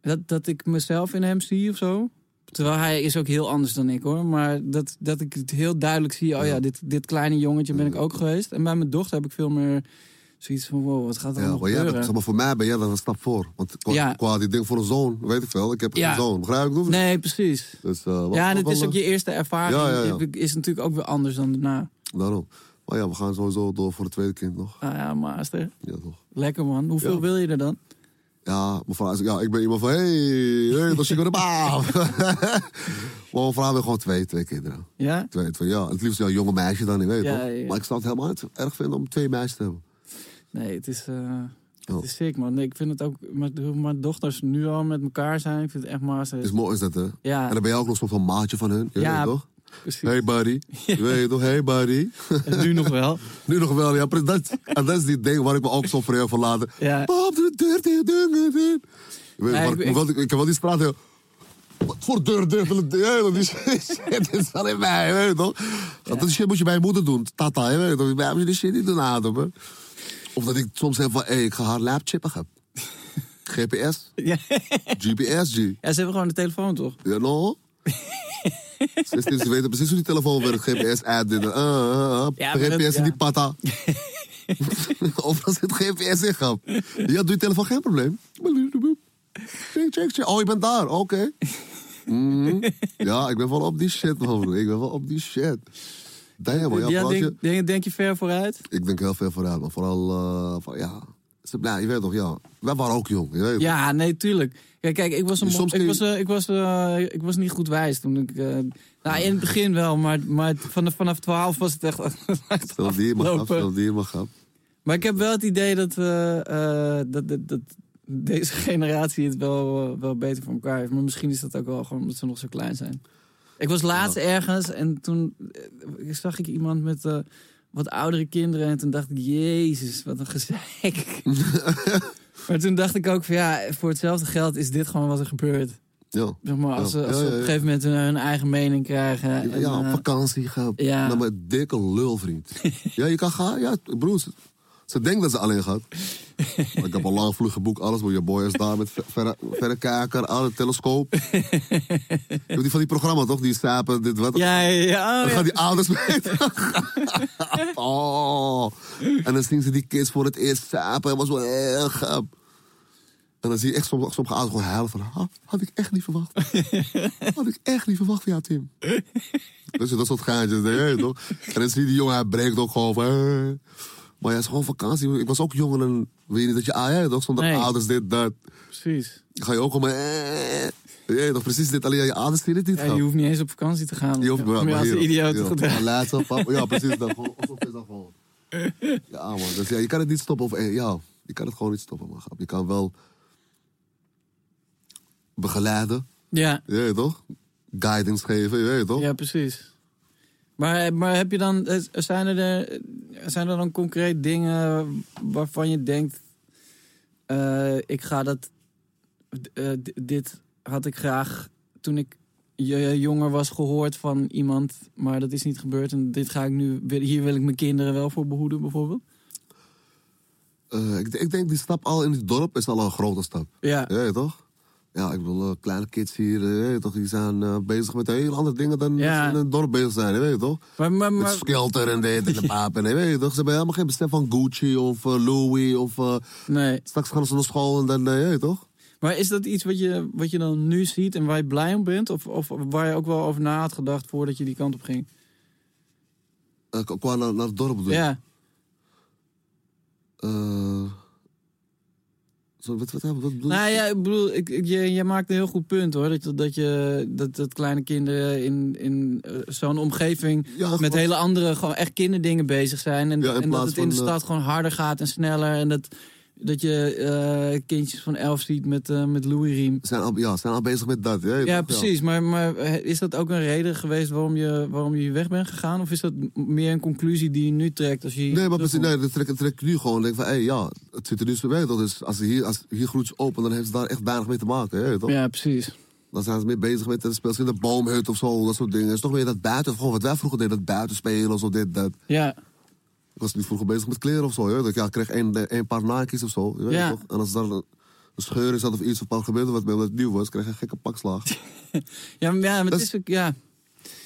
Speaker 2: dat, dat ik mezelf in hem zie of zo. Terwijl hij is ook heel anders dan ik hoor. Maar dat, dat ik het heel duidelijk zie. Oh ja, dit, dit kleine jongetje ben ik ook geweest. En bij mijn dochter heb ik veel meer zoiets van... Wow, wat gaat er
Speaker 3: Ja,
Speaker 2: allemaal
Speaker 3: maar, jij bent-
Speaker 2: gebeuren?
Speaker 3: zeg maar voor mij ben jij daar een stap voor. Want qua,
Speaker 2: Ja.
Speaker 3: qua die ding voor een zoon, weet ik wel. Ik heb
Speaker 2: Ja.
Speaker 3: een zoon, begrijp ik? Of niet?
Speaker 2: Nee, precies.
Speaker 3: Dus, eh, wat-
Speaker 2: Ja, en
Speaker 3: wat-
Speaker 2: het is
Speaker 3: wat-
Speaker 2: ook je eerste ervaring.
Speaker 3: Ja, ja, ja.
Speaker 2: Het Is natuurlijk ook weer anders dan daarna.
Speaker 3: Daarom. Maar ja, we gaan sowieso door voor het tweede kind nog.
Speaker 2: Ah ja, master.
Speaker 3: Ja, toch.
Speaker 2: Lekker man. Hoeveel
Speaker 3: Ja.
Speaker 2: wil je er dan?
Speaker 3: Ja, mevrouw, is- ja, ik ben iemand van, hey, hey, dat is je baam. Maar mijn vrouw wil gewoon twee, twee kinderen.
Speaker 2: Ja?
Speaker 3: Twee, twee, ja. Het liefst ja, een jonge meisje dan, ik weet
Speaker 2: Ja,
Speaker 3: toch?
Speaker 2: ja.
Speaker 3: Maar ik zou het helemaal niet erg vinden om twee meisjes te hebben.
Speaker 2: Nee, het is, eh,
Speaker 3: Oh.
Speaker 2: het is sick, man. Nee, ik vind het ook, met hoe mijn dochters nu al met elkaar zijn, ik vind het echt master.
Speaker 3: Is mooi is dat, hè?
Speaker 2: Ja,
Speaker 3: En dan ben je ook nog soort van maatje van hun. Je
Speaker 2: Ja,
Speaker 3: weet toch?
Speaker 2: precies.
Speaker 3: Hey buddy. Je weet toch? Hey buddy.
Speaker 2: En nu nog wel.
Speaker 3: Nu nog wel, ja. precies. Dat, en dat is die ding waar ik me ook zo voor heb verlaten.
Speaker 2: Ja.
Speaker 3: Pap, de deur tegen de deur. deur. Je weet,
Speaker 2: Nee,
Speaker 3: maar
Speaker 2: ik-
Speaker 3: ik, ik, ik, heb wel die straat. heel- Wat voor deur deur? deur die shit is alleen mij, je weet toch? Want Dat shit moet je bij je moeder doen. Tata, je weet toch? Wij hebben die shit niet doen ademen. Of dat ik soms zeg van, hey, ik ga haar lab chippen. gep. GPS,
Speaker 2: Ja.
Speaker 3: GPS, G.
Speaker 2: ja, ze hebben gewoon de telefoon, toch?
Speaker 3: You know? Ze ze weten precies hoe die telefoon werkt. GPS ad dit. eh, eh, eh,
Speaker 2: Ja, maar dat-
Speaker 3: GPS in die
Speaker 2: ja.
Speaker 3: patta. of als het GPS in gaat. Ja, doe je telefoon, geen probleem. Check, check, check. Oh, je bent daar. Oké. Mhm. Ja, ik ben wel op die shit, man. broer. Ik ben wel op die shit. Damn, man. Ja,
Speaker 2: Ja,
Speaker 3: vooral als je-
Speaker 2: denk, denk, denk je ver vooruit?
Speaker 3: Ik denk heel veel vooruit, maar vooral... eh, van, ja, ze, nou, je weet toch, ja. Wij waren ook jong, je weet toch.
Speaker 2: Ja, nee, tuurlijk. Kijk, kijk ik was, een
Speaker 3: Dus
Speaker 2: mop-
Speaker 3: soms
Speaker 2: ik,
Speaker 3: kun
Speaker 2: was, eh, ik, was, eh, ik was niet goed wijs toen ik... eh, nou, in het begin wel, maar, maar vanaf, vanaf 12 was het echt... echt
Speaker 3: Stel die maar gap,
Speaker 2: afgelopen.
Speaker 3: stel die maar gap.
Speaker 2: Maar ik heb wel het idee dat, eh, eh, dat, dat, dat deze generatie het wel, eh, wel beter voor elkaar heeft. Maar misschien is dat ook wel gewoon omdat ze nog zo klein zijn. Ik was laatst ergens en toen eh, zag ik iemand met eh, wat oudere kinderen. En toen dacht ik, jezus, wat een gezeik. maar toen dacht ik ook van ja, voor hetzelfde geld is dit gewoon wat er gebeurt.
Speaker 3: Ja.
Speaker 2: Zeg maar, als,
Speaker 3: Ja.
Speaker 2: ze, als ze
Speaker 3: Ja,
Speaker 2: op
Speaker 3: ja,
Speaker 2: een
Speaker 3: ja.
Speaker 2: gegeven moment hun, hun eigen mening krijgen. en,
Speaker 3: Ja, op
Speaker 2: eh,
Speaker 3: vakantie gaan.
Speaker 2: ja.
Speaker 3: Nou, maar dikke lul, vriend. ja, je kan gaan. Ja, broer. ze- Ze denkt dat ze alleen gaat. Maar ik heb al lang vlug geboekt, alles. Maar je boy is daar met ver- verre- verrekijker, alle telescoop. je hebt die van die programma, toch? Die sapen, dit, wat.
Speaker 2: ja, ja, ja, oh,
Speaker 3: Dan
Speaker 2: ja.
Speaker 3: gaan die ouders mee. oh. En dan zien ze die kids voor het eerst sapen. Het was wel heel gaaf. En dan zie je echt som- sommige ouders gewoon huilen van... "Ha, had ik echt niet verwacht. had ik echt niet verwacht van jou, Tim. dus dat soort gaatjes, hè, weet je toch? En dan zie je die jongen, hij breekt ook gewoon van... "Eh." Maar ja, het is gewoon vakantie. Ik was ook jonger dan... Weet je niet dat je... Ah, ja, toch? Zonder
Speaker 2: Nee.
Speaker 3: ouders dit, dat.
Speaker 2: Precies.
Speaker 3: Dan Ga je ook gewoon... maar, "Eh." Weet je toch? Precies dit. Alleen je ouders zien het niet.
Speaker 2: Ja,
Speaker 3: gauw.
Speaker 2: je hoeft niet eens op vakantie te gaan.
Speaker 3: Je hoeft
Speaker 2: om je als een idioot te gedragen.
Speaker 3: Laatste, pap, ja, precies. Dat, gewoon, alsof je dat gewoon. Ja, man. Dus ja, je kan het niet stoppen. Of, eh, ja, je kan het gewoon niet stoppen, man. grap. Je kan wel begeleiden,
Speaker 2: Ja.
Speaker 3: je weet toch? Guidance geven, je weet toch?
Speaker 2: Ja, precies. Maar, maar heb je dan, eh, zijn, er, eh, zijn er dan concreet dingen waarvan je denkt: eh, ik ga dat, eh, d- dit had ik graag toen ik j- eh, jonger was gehoord van iemand, maar dat is niet gebeurd en dit ga ik nu, wil- hier wil ik mijn kinderen wel voor behoeden, bijvoorbeeld?
Speaker 3: Eh, ik, ik denk die stap al in het dorp is al een grote stap.
Speaker 2: Ja,
Speaker 3: Je weet toch? Ja, ik bedoel, eh, kleine kids hier, eh, je weet toch? Die zijn eh, bezig met heel andere dingen dan
Speaker 2: Ja.
Speaker 3: dat ze in het dorp bezig zijn, je weet toch?
Speaker 2: maar, maar,
Speaker 3: Met
Speaker 2: maar
Speaker 3: skelter en dit en de paap en weet je toch? Ze hebben helemaal geen besef van Gucci of eh, Louis of... eh,
Speaker 2: nee.
Speaker 3: Straks gaan ze naar school en dan, eh, je weet toch?
Speaker 2: Maar is dat iets wat je, wat je dan nu ziet en waar je blij om bent? Of, of waar je ook wel over na had gedacht voordat je die kant op ging?
Speaker 3: Eh, k- qua naar, naar het dorp doen.
Speaker 2: Ja.
Speaker 3: Eh, Zo, wat, wat, wat, wat bedoel je?
Speaker 2: Nou ja, ik bedoel, ik, ik- je, je maakt een heel goed punt hoor. Dat, je- dat, je, dat, dat kleine kinderen in, in eh, zo'n omgeving
Speaker 3: Ja,
Speaker 2: met
Speaker 3: gewoon-
Speaker 2: hele andere, gewoon echt kinderdingen bezig zijn. En,
Speaker 3: Ja, in
Speaker 2: en dat
Speaker 3: plaats
Speaker 2: het in de
Speaker 3: van, eh,
Speaker 2: stad gewoon harder gaat en sneller. En dat, dat je eh, kindjes van elf ziet met, eh met Louis Riem.
Speaker 3: Ze Zijn al, ja, ze zijn al bezig met dat. Ja, toch?
Speaker 2: Ja, precies. Maar, maar eh, is dat ook een reden geweest waarom je, waarom je weg bent gegaan? Of is dat m- meer een conclusie die je nu trekt? Als je hier
Speaker 3: Nee, maar precies,
Speaker 2: terugkomt?
Speaker 3: nee, dat trek, dat trek ik nu gewoon. Denk van, hé, ja, het zit er nu zo bij. toch? Dus als ze hier, als hier groeit ze op, en dan heeft ze daar echt weinig mee te maken. Hè, toch?
Speaker 2: Ja, precies.
Speaker 3: Dan zijn ze meer bezig met het spelen in de boomhut of zo, dat soort dingen. Het is toch meer dat buiten, gewoon wat wij vroeger deden, dat buiten spelen of zo, dit, dat.
Speaker 2: Ja,
Speaker 3: Ik was niet vroeger bezig met kleren of zo. Hè? Dat ik, ja, ik kreeg één, eh, één paar Nike's of zo. Je weet
Speaker 2: Ja.
Speaker 3: het toch? En als daar een, een scheur in zat of iets of er gebeurde wat mee, omdat het nieuw was, kreeg ik een gekke pakslag.
Speaker 2: ja, maar- ja maar het
Speaker 3: Dat
Speaker 2: is ook... Ja,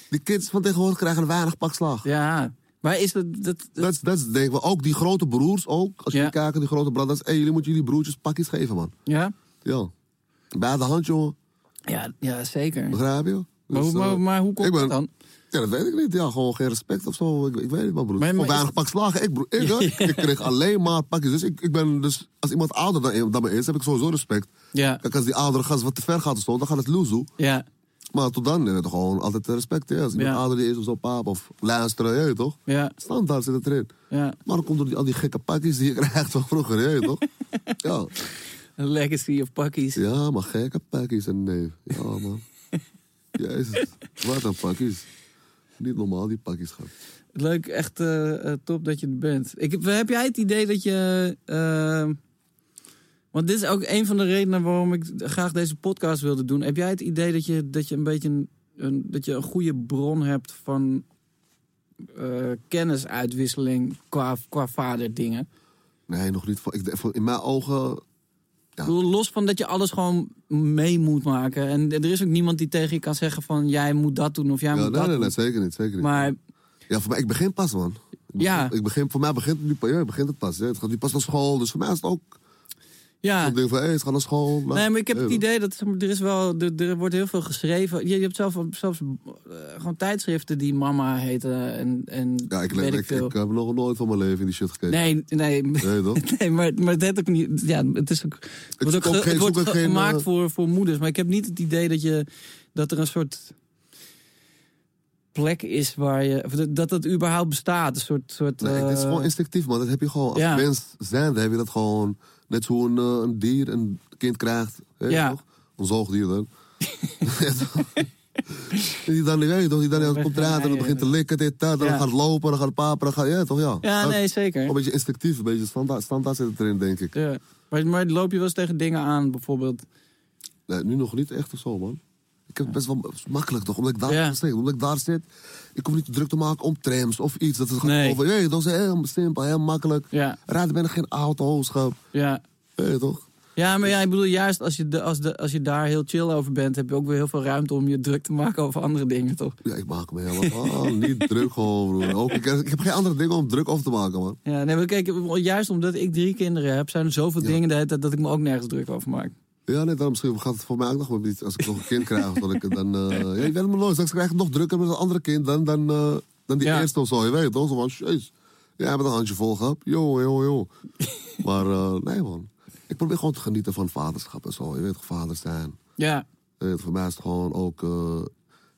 Speaker 3: Die kids van tegenwoordig krijgen weinig pakslag.
Speaker 2: ja. Maar is dat... dat
Speaker 3: Dat is- dat is denk ik wel. Ook die grote broers ook. Als
Speaker 2: Ja.
Speaker 3: jullie kijken, die grote brothers. Hé, jullie moeten jullie broertjes pakjes geven, man.
Speaker 2: ja?
Speaker 3: Ja. Bij de hand, jongen.
Speaker 2: Ja, ja, zeker.
Speaker 3: Begrijp je?
Speaker 2: Maar,
Speaker 3: Dus,
Speaker 2: hoe, maar,
Speaker 3: eh,
Speaker 2: maar hoe komt
Speaker 3: ik ben-
Speaker 2: dat dan?
Speaker 3: Ja, dat weet ik niet. Ja, gewoon geen respect of zo. Ik, ik weet het maar, broer.
Speaker 2: Maar- maar
Speaker 3: Gewoon
Speaker 2: is
Speaker 3: weinig
Speaker 2: het-
Speaker 3: pak slagen. Ik, broer, ik, hè, ik kreeg alleen maar pakjes. Dus ik, ik ben dus... Als iemand ouder dan, dan me is, heb ik sowieso respect.
Speaker 2: Ja,
Speaker 3: Kijk, als die oudere gast wat te ver gaat of zo, dan gaat het loezoe.
Speaker 2: ja,
Speaker 3: Maar tot dan, je weet toch, gewoon altijd respect. Ja. Als iemand
Speaker 2: Ja.
Speaker 3: ouder is of zo, paap, of luisteren, je weet toch?
Speaker 2: ja,
Speaker 3: Standaard zit het erin.
Speaker 2: ja.
Speaker 3: Maar dan komt door die, al die gekke pakjes die je krijgt van vroeger, je weet toch? Ja.
Speaker 2: Een legacy of pakkies.
Speaker 3: ja, maar gekke pakjes en nee. Ja, man. Jezus, wat een pakjes. Niet normaal, die pakjes gaan.
Speaker 2: Leuk, echt eh, eh, top dat je er bent. Ik, heb- heb jij het idee dat je... eh, want dit is ook een van de redenen waarom ik graag deze podcast wilde doen. Heb jij het idee dat je, dat je een beetje een, een- dat je een goede bron hebt van eh, kennisuitwisseling qua, qua vaderdingen?
Speaker 3: Nee, nog niet. Voor- Ik, voor- in mijn ogen.
Speaker 2: Ik bedoel, Los van dat je alles gewoon mee moet maken. En er is ook niemand die tegen je kan zeggen van jij moet dat doen of jij
Speaker 3: Ja,
Speaker 2: moet
Speaker 3: nee,
Speaker 2: dat
Speaker 3: nee, nee,
Speaker 2: doen.
Speaker 3: zeker niet. Zeker niet.
Speaker 2: Maar
Speaker 3: Ja, voor mij, ik begin pas, man. Ik begin-
Speaker 2: Ja.
Speaker 3: Ik begin, voor mij begint het nu pas. Ja, begint het pas. Ja. Het gaat nu pas naar school. Dus voor mij is het ook.
Speaker 2: ja,
Speaker 3: Ik denk van, hé, het gaat naar school. nou,
Speaker 2: Nee, maar ik heb het
Speaker 3: ja.
Speaker 2: idee dat zeg maar, er is wel, er, er wordt heel veel geschreven. Je, je hebt zelf zelfs eh, gewoon tijdschriften die mama heten en, en
Speaker 3: Ja, ik,
Speaker 2: weet
Speaker 3: ik,
Speaker 2: ik
Speaker 3: ik, eh,
Speaker 2: veel.
Speaker 3: heb nog nooit van mijn leven in die shit gekeken.
Speaker 2: nee, nee,
Speaker 3: Nee, toch?
Speaker 2: nee, maar, maar het heeft ook niet. Ja, het is ook. Het wordt ook,
Speaker 3: zoek ook
Speaker 2: ge-
Speaker 3: geen-
Speaker 2: het wordt
Speaker 3: zoek ook geen,
Speaker 2: gemaakt
Speaker 3: eh,
Speaker 2: voor, voor moeders, maar ik heb niet het idee dat je dat er een soort plek is waar je of dat- dat dat überhaupt bestaat, een soort soort.
Speaker 3: Nee, het is
Speaker 2: eh,
Speaker 3: gewoon instinctief, man. Dat heb je gewoon. Als
Speaker 2: ja.
Speaker 3: mens zijn, dan heb je dat gewoon. Net zo een, eh, een dier een kind krijgt. Hè,
Speaker 2: Ja.
Speaker 3: toch? Een zoogdier dan. die dan, weet je toch, die dan
Speaker 2: Ja,
Speaker 3: komt
Speaker 2: weg-
Speaker 3: eruit en
Speaker 2: ja,
Speaker 3: dan begint te likken, dit, dat. Dan
Speaker 2: eh, Ja.
Speaker 3: gaat het lopen, dan gaat het papen, dan gaat... Ja, toch, ja.
Speaker 2: ja,
Speaker 3: Dat-
Speaker 2: nee, zeker.
Speaker 3: Een beetje instinctief, een beetje standaard, standaard zit het erin, denk ik.
Speaker 2: Ja. Maar, maar loop je wel eens tegen dingen aan, bijvoorbeeld?
Speaker 3: Nee, nu nog niet echt of zo, man. Ik heb het best wel het is makkelijk toch, omdat ik daar,
Speaker 2: Ja.
Speaker 3: steek, omdat ik daar zit. Ik hoef niet te druk te maken om trams of iets. Dat is gewoon
Speaker 2: Nee.
Speaker 3: over. Hey, dat is heel simpel, heel makkelijk.
Speaker 2: Ja,
Speaker 3: Rijden bijna geen auto, schap.
Speaker 2: ja.
Speaker 3: Hey, toch?
Speaker 2: Ja,
Speaker 3: Dus
Speaker 2: maar ja, ik bedoel, juist als je, de, als, de, als je daar heel chill over bent, heb je ook weer heel veel ruimte om je druk te maken over andere dingen, toch?
Speaker 3: Ja, ik maak me helemaal niet druk gewoon, broer. Ook, ik, ik heb geen andere dingen om druk over te maken, man.
Speaker 2: Ja, nee, maar kijk, juist omdat ik drie kinderen heb, zijn er zoveel
Speaker 3: Ja.
Speaker 2: dingen de hele tijd dat ik me ook nergens druk over maak.
Speaker 3: Ja, nee, dan misschien gaat het voor mij ook nog wel niet. Als ik nog een kind krijg, of dat ik het dan... eh ja, je weet me nooit, straks krijg ik het nog drukker met een andere kind dan, dan, eh, dan die
Speaker 2: Ja.
Speaker 3: eerste of zo. Je weet het, toch? Zo van, jeez, jij hebt een handje vol gehad. Jo, jo, jo. maar eh, nee, man. Ik probeer gewoon te genieten van vaderschap en zo. Je weet toch, vader zijn.
Speaker 2: Ja,
Speaker 3: Je weet, voor mij is het gewoon ook... eh,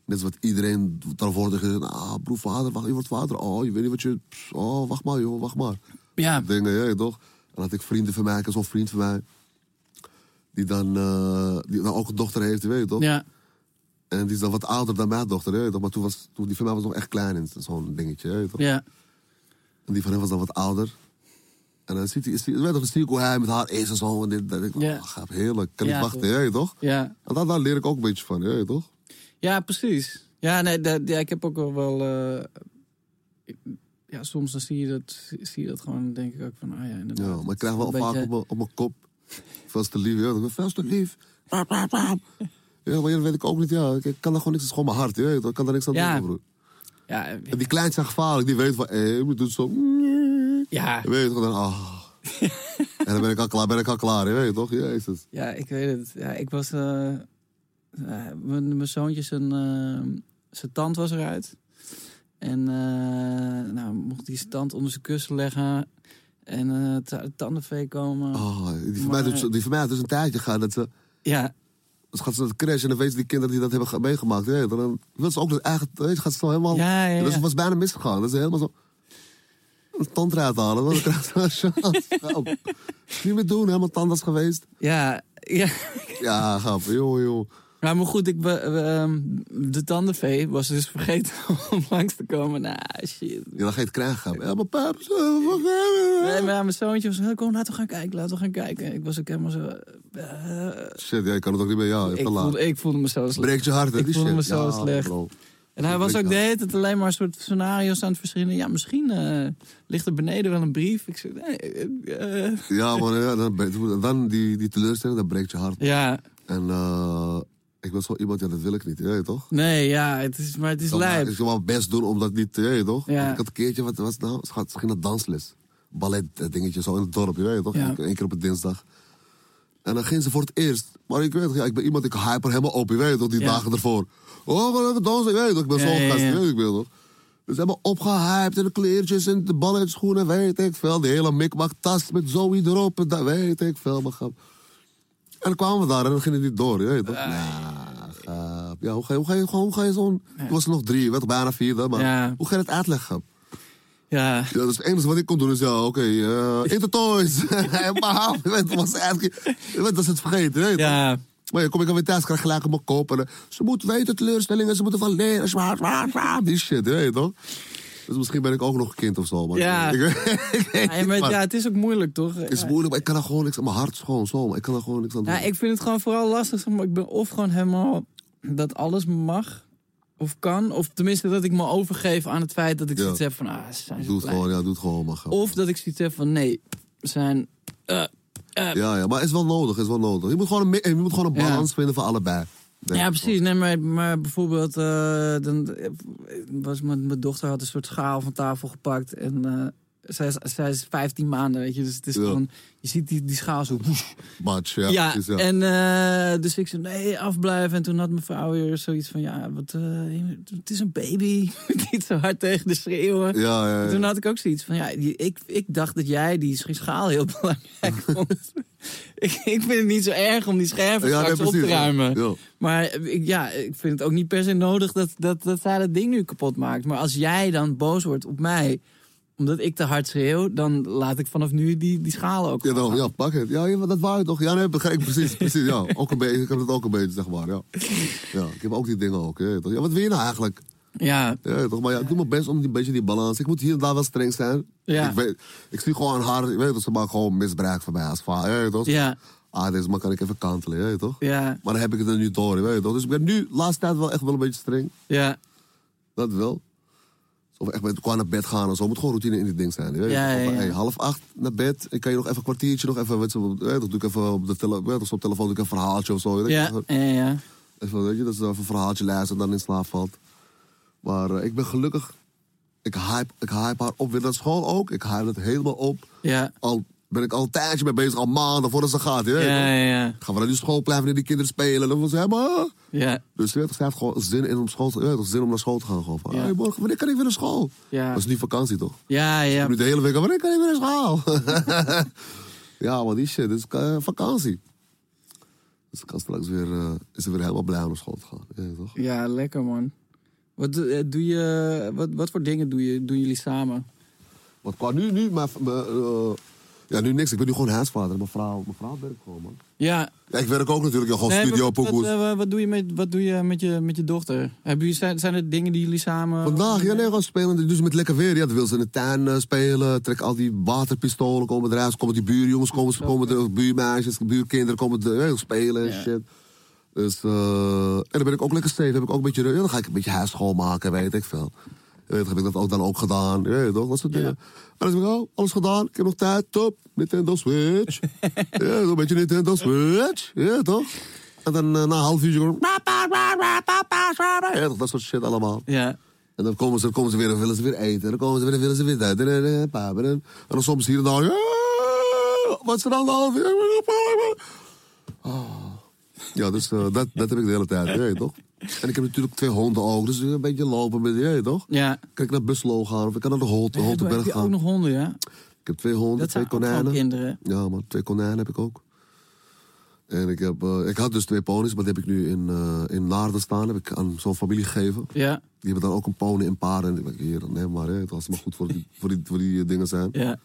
Speaker 3: net als wat iedereen tegenwoordig is. Ah, broer, vader, wacht, je wordt vader. Oh, je weet niet wat je... pss, Oh, wacht maar, joh, wacht maar
Speaker 2: ja,
Speaker 3: dingen, ja, toch? Dan had ik vrienden van mij, zo'n vriend van mij. Die dan, eh, die dan ook een dochter heeft, weet je toch?
Speaker 2: ja,
Speaker 3: En die is dan wat ouder dan mijn dochter, weet je toch? Maar toen was, toen, die van mij was nog echt klein, in zo'n dingetje, weet je toch?
Speaker 2: ja,
Speaker 3: En die van hem was dan wat ouder. En dan ziet hij, zie, weet je toch, dan zie ik hoe hij met haar is en zo. En dit, dan denk ik,
Speaker 2: Ja.
Speaker 3: oh, gaaf, heerlijk, kan
Speaker 2: Ja,
Speaker 3: niet wachten,
Speaker 2: toch.
Speaker 3: weet je toch?
Speaker 2: ja.
Speaker 3: En daar, daar leer ik ook een beetje van, weet je toch?
Speaker 2: Ja, precies. Ja, nee, dat, ja, ik heb ook wel... wel eh, ja, soms dan zie je, dat, zie je dat gewoon, dan denk ik ook van, ah ja, inderdaad.
Speaker 3: Ja, maar ik krijg
Speaker 2: Een
Speaker 3: wel vaak
Speaker 2: beetje-
Speaker 3: op mijn- op mijn kop. Veel te lief, ja. Ik ben veel te lief. Bam, bam, bam. Ja, maar ja, dat weet ik ook niet, ja. Ik- Ik kan daar gewoon niks, het is gewoon mijn hart, ja. Ik kan daar niks aan
Speaker 2: Ja.
Speaker 3: doen, broer.
Speaker 2: Ja,
Speaker 3: En die kleintjes zijn gevaarlijk. Die weten van, hé, je moet doen zo.
Speaker 2: ja,
Speaker 3: Je weet toch, dan, ah. en dan ben ik al klaar, ben ik al klaar. Je weet toch, jezus.
Speaker 2: Ja, ik weet het. Ja, ik was. eh, eh, mijn, mijn zoontje, zijn, eh, zijn tand was eruit. En eh, nou, mocht hij zijn tand onder zijn kussen leggen. En eh, het zou uit tandenvee komen.
Speaker 3: Oh, die, van mij
Speaker 2: Maar-
Speaker 3: doet zo- die van mij had dus een tijdje gaan dat ze...
Speaker 2: Ja,
Speaker 3: Dus gaat ze naar de crash en dan weten die kinderen die dat hebben ge- meegemaakt. hè, dan wil ze ook dat eigen... Weet je, gaat ze zo helemaal...
Speaker 2: Ja, ja, ja.
Speaker 3: Dat is- was bijna misgegaan. Dat is helemaal zo... Een tand eruit halen. want Dan krijgt ze een chance. Help. Niet meer doen, helemaal tandarts geweest.
Speaker 2: ja, ja.
Speaker 3: Ja, grap. Joh, joh.
Speaker 2: Maar, maar goed, ik be- we, ehm, de tandenvee was dus vergeten om langs te komen. Nou, shit.
Speaker 3: Ja, dan ga je het krijgen. grap. Ja, maar pap... zo,
Speaker 2: Nee,
Speaker 3: wat-
Speaker 2: maar mijn zoontje was, "Hey, kom, laten we gaan kijken, laten we gaan kijken. Ik was ook helemaal zo... eh,
Speaker 3: Shit, ja, je kan het ook niet meer. Ja, je hebt
Speaker 2: ik,
Speaker 3: te laat.
Speaker 2: voelde, ik voelde me zo slecht.
Speaker 3: Breekt je hart, hè,
Speaker 2: Ik
Speaker 3: die
Speaker 2: voelde
Speaker 3: shit.
Speaker 2: me zo
Speaker 3: Ja,
Speaker 2: slecht.
Speaker 3: bro.
Speaker 2: En hij was ook de hele tijd alleen maar een soort scenario's aan het verschillen. Ja, misschien eh, ligt er beneden wel een brief. Ik zei, nee, eh, eh.
Speaker 3: Ja, maar ja, dan, bre- dan die, die teleurstelling, dat breekt je hart.
Speaker 2: Ja,
Speaker 3: En eh, ik ben zo iemand, ja, dat wil ik niet, weet je toch?
Speaker 2: nee, ja, het is, maar het is
Speaker 3: Dan
Speaker 2: lijp.
Speaker 3: Ik zal mijn best doen om dat niet te, weet je toch?
Speaker 2: Ja.
Speaker 3: Ik had een keertje, wat was het nou? Ze gaat- ze ging naar dansles. Ballet eh, dingetje zo in het dorp, je weet je toch?
Speaker 2: Ja.
Speaker 3: Eén keer- één keer op een dinsdag. En dan ging ze voor het eerst. Maar ik weet het, ja, ik ben iemand, ik hyper helemaal op, je weet toch? Die
Speaker 2: Ja.
Speaker 3: dagen ervoor. Oh, we gaan lekker dansen, je weet toch? Ik ben
Speaker 2: Ja,
Speaker 3: zo'n
Speaker 2: ja,
Speaker 3: gast,
Speaker 2: ja.
Speaker 3: je weet ik wel toch? Dus helemaal opgehyped en de kleertjes en de balletschoenen, weet ik veel. Die hele mikmak tas met zoiets erop en dat, weet ik veel. Maar grap. En dan kwamen we daar en dan ging het niet door, je weet toch? Nou, gaap. Ja, hoe ga je, hoe ga je, hoe ga je zo'n... Toen was er nog drie, werd bijna vierde, maar
Speaker 2: Ja.
Speaker 3: hoe ga je dat uitleggen?
Speaker 2: Ja,
Speaker 3: Ja, dat is het enige wat ik kon doen, is ja, oké, eh eet de toys. maar je weet, het was eigenlijk... je weet, Dat is het vergeten, je weet toch?
Speaker 2: ja,
Speaker 3: Maar ja, kom ik dan weer thuis, krijg gelijk op mijn kop. En, eh, ze moet weten teleurstellingen, ze moeten van leren. Zwaar, zwaar, zwaar, die shit, je weet je toch? Dus misschien ben ik ook nog een kind of zo. Maar
Speaker 2: Ja.
Speaker 3: ik, ik weet
Speaker 2: Ja,
Speaker 3: niet,
Speaker 2: maar,
Speaker 3: man.
Speaker 2: ja, het is ook moeilijk, toch?
Speaker 3: Het is
Speaker 2: Ja.
Speaker 3: moeilijk, maar ik kan er gewoon niks aan. Mijn hart is gewoon zo, maar ik kan er gewoon niks aan doen.
Speaker 2: Ja, ik vind het gewoon vooral lastig. zeg Maar ik ben of gewoon helemaal dat alles mag of kan. Of tenminste dat ik me overgeef aan het feit dat ik
Speaker 3: Ja.
Speaker 2: zoiets heb van... Ah, ze zijn zo
Speaker 3: Doe het
Speaker 2: klein.
Speaker 3: gewoon, ja, doe het gewoon, maar grap.
Speaker 2: Of dat ik zoiets heb van nee, ze zijn... eh, eh.
Speaker 3: Ja, ja, maar het is wel nodig, het is wel nodig. Je moet gewoon een, mi- je moet gewoon een
Speaker 2: Ja.
Speaker 3: balans vinden van allebei. denk
Speaker 2: Ja,
Speaker 3: ik.
Speaker 2: precies. Nee, maar, maar bijvoorbeeld, eh, dan eh, was mijn, mijn dochter had een soort schaal van tafel gepakt. En eh, zij, is, zij is 15 maanden, weet je. Dus het is
Speaker 3: Ja.
Speaker 2: gewoon, je ziet die, die schaal zo. woes.
Speaker 3: Match, ja.
Speaker 2: Ja,
Speaker 3: precies, ja.
Speaker 2: en eh, dus ik zei nee, afblijven. En toen had mijn vrouw weer zoiets van, ja, wat, eh, het is een baby. Niet zo hard tegen de schreeuwen.
Speaker 3: ja, ja,
Speaker 2: En
Speaker 3: ja.
Speaker 2: Toen had ik ook zoiets van, ja, die- ik, ik dacht dat jij die sch- schaal heel belangrijk vond. ik, ik vind het niet zo erg om die scherven
Speaker 3: Ja,
Speaker 2: straks
Speaker 3: nee,
Speaker 2: op te
Speaker 3: precies, ja.
Speaker 2: ruimen.
Speaker 3: Ja.
Speaker 2: Maar eh, ik, ja, ik vind het ook niet per se nodig dat, dat, dat zij dat ding nu kapot maakt. Maar als jij dan boos wordt op mij, omdat ik te hard schreeuw... dan laat ik vanaf nu die, die schaal ook.
Speaker 3: Ja,
Speaker 2: gewoon.
Speaker 3: dan, ja, pak het. Ja, ja, maar dat wou je toch? Ja, nee, begrijp ik precies. precies ja. ook een beetje, ik heb het ook een beetje, zeg maar. Ja. Ja, ik heb ook die dingen ook. Ja, toch? ja, wat wil je nou eigenlijk?
Speaker 2: ja,
Speaker 3: Ja, toch? Maar ja, ik doe mijn best om een beetje die balans. Ik moet hier en daar wel streng zijn.
Speaker 2: Ja.
Speaker 3: Ik, weet, ik zie gewoon aan haar, ik weet dat ze maakt gewoon misbruik van mij als vader. Ja, toch?
Speaker 2: Ja.
Speaker 3: Ah, deze man kan ik even kantelen, ja, toch?
Speaker 2: ja,
Speaker 3: Maar dan heb ik het er nu door, weet je toch? Dus ik ben nu, laatste tijd wel echt wel een beetje streng.
Speaker 2: ja,
Speaker 3: Dat wel. Of echt met gewoon naar bed gaan en zo. Moet gewoon routine in dit ding zijn. Weet je?
Speaker 2: Ja, ja,
Speaker 3: Of,
Speaker 2: ja.
Speaker 3: hey, half acht naar bed. Ik kan je nog even een kwartiertje nog even. Weet je, op- weet je, doe ik even op de tele, weet je, op de telefoon doe ik even een verhaaltje of zo. Weet je,
Speaker 2: ja, ja, ja.
Speaker 3: Even, weet je, dat ze even een verhaaltje luisteren en dan in slaap valt. Maar eh, ik ben gelukkig. Ik hype, ik hype haar op weer naar school ook. Ik hype het helemaal op.
Speaker 2: ja.
Speaker 3: Al ben ik al een tijdje mee bezig, al maanden voordat ze gaat. je weet
Speaker 2: Ja,
Speaker 3: toch?
Speaker 2: ja,
Speaker 3: Gaan we naar die school blijven en die kinderen spelen. Dan was ze helemaal.
Speaker 2: ja.
Speaker 3: Dus ze heeft ze heeft gewoon zin, in om school te, ja, toch, zin om naar school te gaan. Gewoon van,
Speaker 2: Ja.
Speaker 3: hey, morgen, wanneer kan ik weer naar school?
Speaker 2: Ja.
Speaker 3: Dat is nu vakantie toch?
Speaker 2: Ja, ja.
Speaker 3: Nu de hele week, wanneer kan ik weer naar school? ja, maar die shit, is eh, vakantie. Dus ik kan straks weer, eh, is ze weer helemaal blij om naar school te gaan. Ja, toch?
Speaker 2: Ja, lekker man. Wat, eh, doe je, wat, wat voor dingen doe je, doen jullie samen?
Speaker 3: Want qua nu, nu, maar, maar, eh, ja, nu niks. Ik ben nu gewoon huisvader. Mijn vrouw, mijn vrouw werkt gewoon, man.
Speaker 2: Ja,
Speaker 3: Ja, ik werk ook natuurlijk, ja, gewoon
Speaker 2: Nee,
Speaker 3: studio,
Speaker 2: maar wat,
Speaker 3: pokoes.
Speaker 2: eh, wat doe je, met, wat doe je, met, je met je dochter? Hebben jullie, zijn, zijn er dingen die jullie samen...
Speaker 3: Vandaag, ja, nee, gewoon spelen. Dus met lekker weer. Ja, dan wil ze in de tuin eh, spelen. Trek al die waterpistolen, komen eruit. Komen die buurjongens, komen ze, komen de buurmeisjes, buurkinderen, komen de, eh, spelen en
Speaker 2: Ja.
Speaker 3: shit. Dus, eh, en dan ben ik ook lekker stevig. Heb ik ook een beetje, ja, dan ga ik een beetje huis schoonmaken, weet ik veel. Je Weet, heb ik dat ook dan ook gedaan? Je Weet toch? Dat soort dingen. En dan zeg ik, oh, alles gedaan. Ik heb nog tijd. Top. Nintendo Switch. ja, een beetje Nintendo Switch. Ja, toch? En dan eh, na een half uurtje gewoon... Ja, toch, dat soort shit allemaal.
Speaker 2: Ja,
Speaker 3: En dan komen ze, dan komen ze weer en willen ze weer eten. En dan komen ze weer en willen ze weer dat. En dan- en dan soms hier en daar. "Ja, Wat is er aan de hand? Ik ben op- ik ben op." Ah. Ja, dus eh, dat, dat heb ik de hele tijd. Ja, toch? En ik heb natuurlijk twee honden ook. Dus een beetje lopen met je, toch?
Speaker 2: ja.
Speaker 3: Kan ik naar Buslo gaan of ik kan naar de Holt,
Speaker 2: Hebben-
Speaker 3: Holtenberg
Speaker 2: heb je
Speaker 3: gaan.
Speaker 2: ook nog honden, ja?
Speaker 3: Ik heb twee honden,
Speaker 2: Dat
Speaker 3: twee
Speaker 2: zijn ook gewoon
Speaker 3: konijnen.
Speaker 2: kinderen.
Speaker 3: Ja, man, twee konijnen heb ik ook. En ik, heb, eh, ik had dus twee ponies, maar die heb ik nu in, eh, in Naarden staan. Heb ik aan zo'n familie gegeven.
Speaker 2: Ja,
Speaker 3: Die hebben dan ook een pony en paarden. En ik denk, hier, neem maar, hè, als het maar goed voor die, voor die, voor die eh, dingen zijn.
Speaker 2: ja.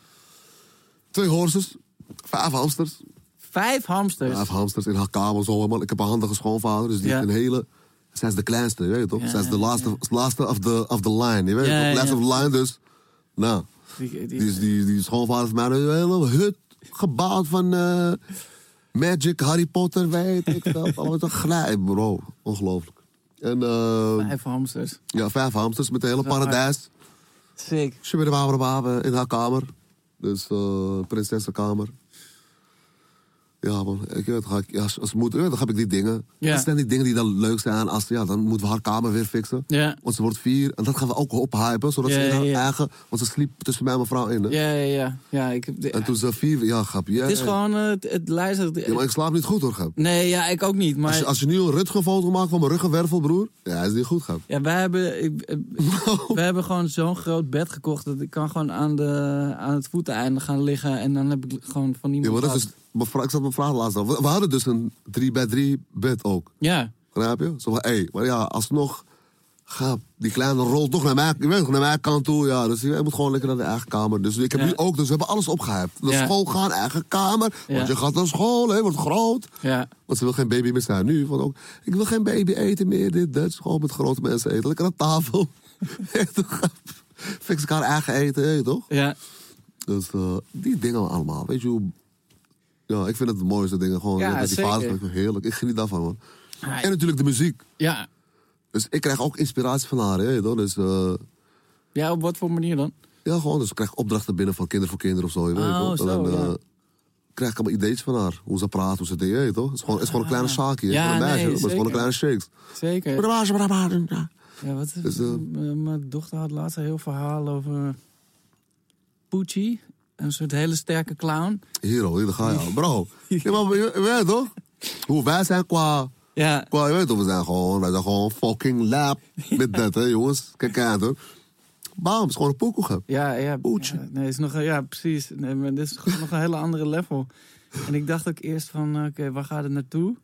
Speaker 3: Twee horses, vijf hamsters.
Speaker 2: Vijf hamsters.
Speaker 3: Vijf hamsters in haar kamer zo. Man. Ik heb een handige schoonvader, dus die
Speaker 2: Ja.
Speaker 3: heeft een hele... Zij is de kleinste, je weet toch?
Speaker 2: Ja,
Speaker 3: Zij is de
Speaker 2: ja,
Speaker 3: laatste, laatste of the, of the line, je weet
Speaker 2: Ja,
Speaker 3: toch?
Speaker 2: ja,
Speaker 3: Last
Speaker 2: ja.
Speaker 3: of the line, dus... Nou,
Speaker 2: Die- die-
Speaker 3: die, is- die, die schoonvader van mij heeft een hele hut gebouwd van... eh, Magic, Harry Potter, weet ik veel. Allemaal te glij- Bro, ongelooflijk. En eh,
Speaker 2: Vijf hamsters.
Speaker 3: ja, vijf hamsters met een hele
Speaker 2: Dat is wel
Speaker 3: paradijs.
Speaker 2: Sick.
Speaker 3: Shibberwaberwabe in haar kamer. Dus eh prinsessenkamer. Ja, man. Ik weet, ga ik, ja, als, als moeder, ja, dan heb ik die dingen.
Speaker 2: Ja.
Speaker 3: Dat zijn die dingen die dan leuk zijn. Als, ja, dan moeten we haar kamer weer fixen.
Speaker 2: Ja.
Speaker 3: Want ze wordt vier. En dat gaan we ook ophypen. Zodat
Speaker 2: Ja,
Speaker 3: ze in haar
Speaker 2: ja, ja.
Speaker 3: eigen... Want ze sliep tussen mij en mijn vrouw in. Hè?
Speaker 2: Ja, ja, ja. ja ik heb de-
Speaker 3: En toen ze vier... Ja, grap. Ja,
Speaker 2: het is
Speaker 3: ja.
Speaker 2: gewoon eh, het, het luistert.
Speaker 3: Ja, maar ik slaap niet goed hoor, grap.
Speaker 2: Nee, ja, ik ook niet. Maar
Speaker 3: Als je, als je nu een Rutger-foto maakt van mijn ruggenwervel, broer. Ja, is niet goed, grap.
Speaker 2: Ja, wij hebben, ik, eh, wij hebben gewoon zo'n groot bed gekocht. Dat ik kan gewoon aan, de, aan het voeteneinde gaan liggen. En dan heb ik gewoon van
Speaker 3: Ja,
Speaker 2: iemand.
Speaker 3: maar dat is... dus-
Speaker 2: last.
Speaker 3: mijn vrouw- Ik zat mijn vraag laatst af. We, we hadden dus een 3 bij 3 bed ook.
Speaker 2: ja.
Speaker 3: Begrijp je? Zo van, hé, maar ja, alsnog gaat die kleine rol toch naar mijn, je weet, toch, naar mijn kant toe. Ja, dus je moet gewoon lekker naar de eigen kamer. Dus ik heb
Speaker 2: Ja.
Speaker 3: nu ook, dus we hebben alles opgehept. Naar
Speaker 2: Ja.
Speaker 3: school gaan, eigen kamer.
Speaker 2: Ja.
Speaker 3: Want je gaat naar school, hè, wordt groot.
Speaker 2: ja.
Speaker 3: Want ze wil geen baby meer zijn nu. Van ook, ik wil geen baby eten meer, dit, dat. Dus Gewoon met grote mensen eten. Lekker aan tafel. Fix elkaar eigen eten, hè, toch?
Speaker 2: Ja.
Speaker 3: Dus eh, die dingen allemaal, weet je hoe... Ja, ik vind het de mooiste dingen. Gewoon
Speaker 2: Ja,
Speaker 3: ja, dat die
Speaker 2: zeker.
Speaker 3: vader, heerlijk. Ik geniet daarvan, man.
Speaker 2: Ja.
Speaker 3: En natuurlijk de muziek.
Speaker 2: Ja.
Speaker 3: Dus ik krijg ook inspiratie van haar. Hè, toch? Dus, eh,
Speaker 2: Ja, op wat voor manier dan?
Speaker 3: ja, gewoon. Dus ik krijg opdrachten binnen van kinderen voor kinderen of zo. Je weet
Speaker 2: Oh,
Speaker 3: toch?
Speaker 2: zo,
Speaker 3: en dan eh,
Speaker 2: ja.
Speaker 3: krijg ik allemaal ideetjes van haar. Hoe ze praat, hoe ze dingen. je weet toch? Het is gewoon, het is gewoon een kleine zaakje.
Speaker 2: Ah. Ja,
Speaker 3: Ja, een meisje.
Speaker 2: nee,
Speaker 3: maar het is gewoon een
Speaker 2: zeker.
Speaker 3: kleine shakes.
Speaker 2: Zeker. Ja, wat,
Speaker 3: Dus, eh,
Speaker 2: m- mijn dochter had laatst een heel verhaal over. Pucci. Een soort hele sterke clown.
Speaker 3: Hero, hier, daar ga je. al. Bro. Ja, maar, je, je weet toch? Hoe wij zijn qua...
Speaker 2: Ja.
Speaker 3: qua je weet toch? We zijn gewoon, wij zijn gewoon fucking lap met dat, hè, jongens. Kijk aan, hoor. Bam, het is gewoon een pokoe. gek.
Speaker 2: Ja, ja.
Speaker 3: Boetje.
Speaker 2: ja, nee, is nog, een- ja, precies. Nee, maar dit is gewoon nog een hele andere level. En ik dacht ook eerst van, oké, waar gaat het naartoe?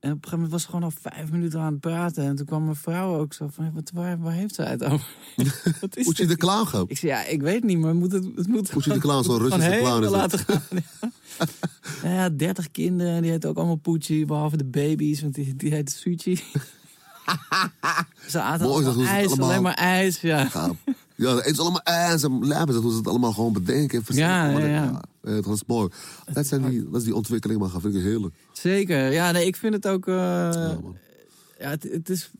Speaker 2: En op een gegeven moment was ze gewoon al vijf minuten aan het praten. En toen kwam mijn vrouw ook zo van, wat, waar, waar heeft ze het over? wat is
Speaker 3: Oetje
Speaker 2: dit?
Speaker 3: de clown, gek.
Speaker 2: Ik zei, ja, ik weet niet, maar moet het, het moet
Speaker 3: Oetje de clown, zo'n
Speaker 2: gewoon
Speaker 3: Russische
Speaker 2: helemaal
Speaker 3: clown is het.
Speaker 2: laten gaan. Ja. nou ja, dertig kinderen, die heten ook allemaal Poetje, behalve de baby's, want die, die heet Suchi. ze aten
Speaker 3: Mooi,
Speaker 2: allemaal
Speaker 3: dat doen ze
Speaker 2: ijs,
Speaker 3: allemaal.
Speaker 2: alleen maar ijs, ja.
Speaker 3: gaaf. Ja, het is allemaal ijs en lijpen. Dat hoe ze het allemaal gewoon bedenken. en verzinnen.
Speaker 2: Ja, ja,
Speaker 3: Maar dat-
Speaker 2: ja.
Speaker 3: ja, eh, dat is mooi. Dat, zijn die, dat is die ontwikkeling, maar dat vind ik heerlijk.
Speaker 2: Zeker. Ja, nee, ik vind het ook. eh, ja,
Speaker 3: man.
Speaker 2: het, het is.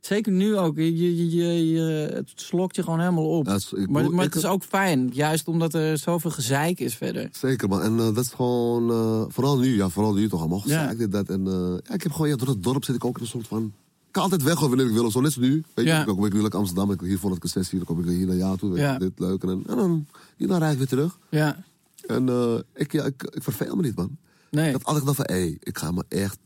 Speaker 2: Zeker nu ook. Je, je, je, je- het slokt je gewoon helemaal op.
Speaker 3: Ja, het is- ik
Speaker 2: maar
Speaker 3: bedoel,
Speaker 2: maar
Speaker 3: ik-
Speaker 2: het is ook fijn. Juist omdat er zoveel gezeik is verder.
Speaker 3: Zeker, man. En eh, dat is gewoon... eh, vooral nu, ja, vooral nu toch allemaal.
Speaker 2: Ja.
Speaker 3: Ja. Dit, dat. En, eh, ja, ik heb gewoon... Ja, door het dorp zit ik ook in een soort van... Ik kan altijd weg hoor, wanneer ik wil of zo. Net als nu. Weet
Speaker 2: Ja.
Speaker 3: je, dan kom ik nu naar Amsterdam. Ik hier voor het concessie. Dan kom ik hier naar jou toe. weet je,
Speaker 2: Ja.
Speaker 3: Dit leuk. En, dan- en dan hierna rijd ik weer terug.
Speaker 2: Ja.
Speaker 3: En eh, ik, ja, ik, ik verveel me niet, man.
Speaker 2: Nee.
Speaker 3: Dat had ik dacht van, hé, ik ga me echt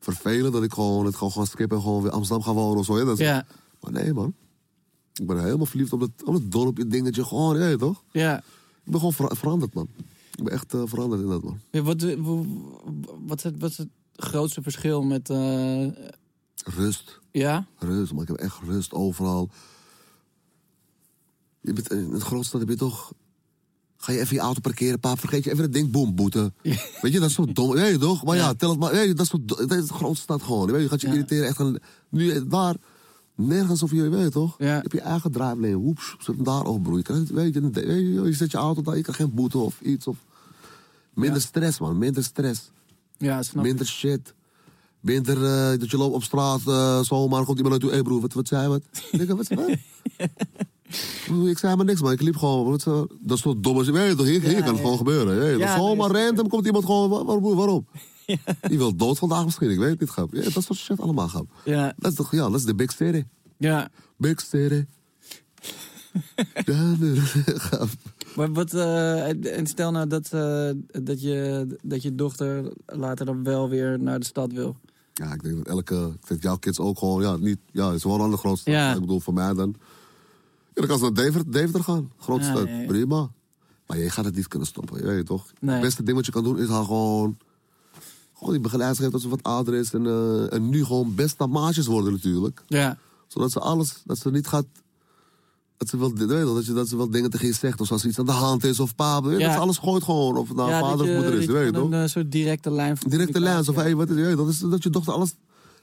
Speaker 3: vervelen dat ik gewoon het gewoon ga skippen en gewoon weer Amsterdam ga wonen of zo. hè. Dat is-
Speaker 2: Ja.
Speaker 3: Maar nee, man. Ik ben helemaal verliefd op het, op het dorpje, dingetje, gewoon, je weet toch?
Speaker 2: Ja.
Speaker 3: Ik ben gewoon ver- veranderd, man. Ik ben echt eh, veranderd in dat, man.
Speaker 2: Ja, Wat, wat, wat, is het, wat is het grootste verschil met. eh,
Speaker 3: Rust,
Speaker 2: ja?
Speaker 3: rust, man. Ik heb echt rust overal. Je bent, in het grootste heb je toch... Ga je even je auto parkeren, pa, vergeet je even dat ding, boem, boete. Weet je, dat is zo dom. Weet je toch? Maar ja, tel het maar. Weet je, dat is, zo do- dat is het grootste staat gewoon. Weet je, je gaat je
Speaker 2: Ja.
Speaker 3: irriteren. Echt aan, nu, eh, daar, nergens of je, weet je toch?
Speaker 2: Ja.
Speaker 3: Je hebt je eigen driveline. Hoeps, zet hem daar op, broer. Je, krijgt, weet je, weet je, je zet je auto daar, je krijgt geen boete of iets. Of, minder stress, man. Minder stress.
Speaker 2: Ja, snap ik.
Speaker 3: Minder shit. Minder eh, dat je loopt op straat, eh zomaar komt iemand naartoe. Hé broer, wat, wat zei wat? Ik denk, wat zei wat? Ik zei maar niks, man. Ik liep gewoon. Wat, eh, dat is toch dom als je weet. toch, Hier, hier
Speaker 2: Ja,
Speaker 3: kan het
Speaker 2: ja.
Speaker 3: gewoon gebeuren. hè.
Speaker 2: Ja,
Speaker 3: dat is zomaar
Speaker 2: nee,
Speaker 3: random komt iemand gewoon. Waar, waar- broer, waarom? Die wil dood vandaag misschien, ik weet het niet. Grap. Ja, dat soort shit allemaal, grap.
Speaker 2: Ja.
Speaker 3: Dat is toch, ja, dat is de big city.
Speaker 2: Ja.
Speaker 3: Big city. ja, nee, grap.
Speaker 2: Maar wat, eh, en stel nou dat, eh, dat, je, dat je dochter later dan wel weer naar de stad wil.
Speaker 3: Ja, ik denk dat elke. Ik denk jouw kids ook gewoon. Ja, niet, ja het is wel aan de grootste.
Speaker 2: Ja.
Speaker 3: Ik bedoel, voor mij dan. Ja, dan kan ze naar Deventer, Deventer gaan. Grootste.
Speaker 2: Ja, ja, ja.
Speaker 3: Prima. Maar je gaat het niet kunnen stoppen, je weet het toch?
Speaker 2: Nee.
Speaker 3: Het beste ding wat je kan doen is haar gewoon... Gewoon die begeleiding geven dat ze wat ouder is. En, eh, en nu gewoon best naar maatjes worden natuurlijk.
Speaker 2: Ja.
Speaker 3: Zodat ze alles, dat ze niet gaat... Dat ze wel, weet je wel, dat, je, dat ze wel dingen tegen je zegt. Of als er iets aan de hand is of pa. weet je,
Speaker 2: Ja.
Speaker 3: Dat ze alles gooit gewoon. Of het nou
Speaker 2: ja,
Speaker 3: vader
Speaker 2: dat
Speaker 3: of
Speaker 2: je-
Speaker 3: moeder is,
Speaker 2: dat je
Speaker 3: weet je
Speaker 2: gewoon
Speaker 3: toch?
Speaker 2: Een eh, soort directe lijn van
Speaker 3: Directe lijns. Of
Speaker 2: communicatie
Speaker 3: hey, wat, is- weet je, dat, is, dat je dochter alles...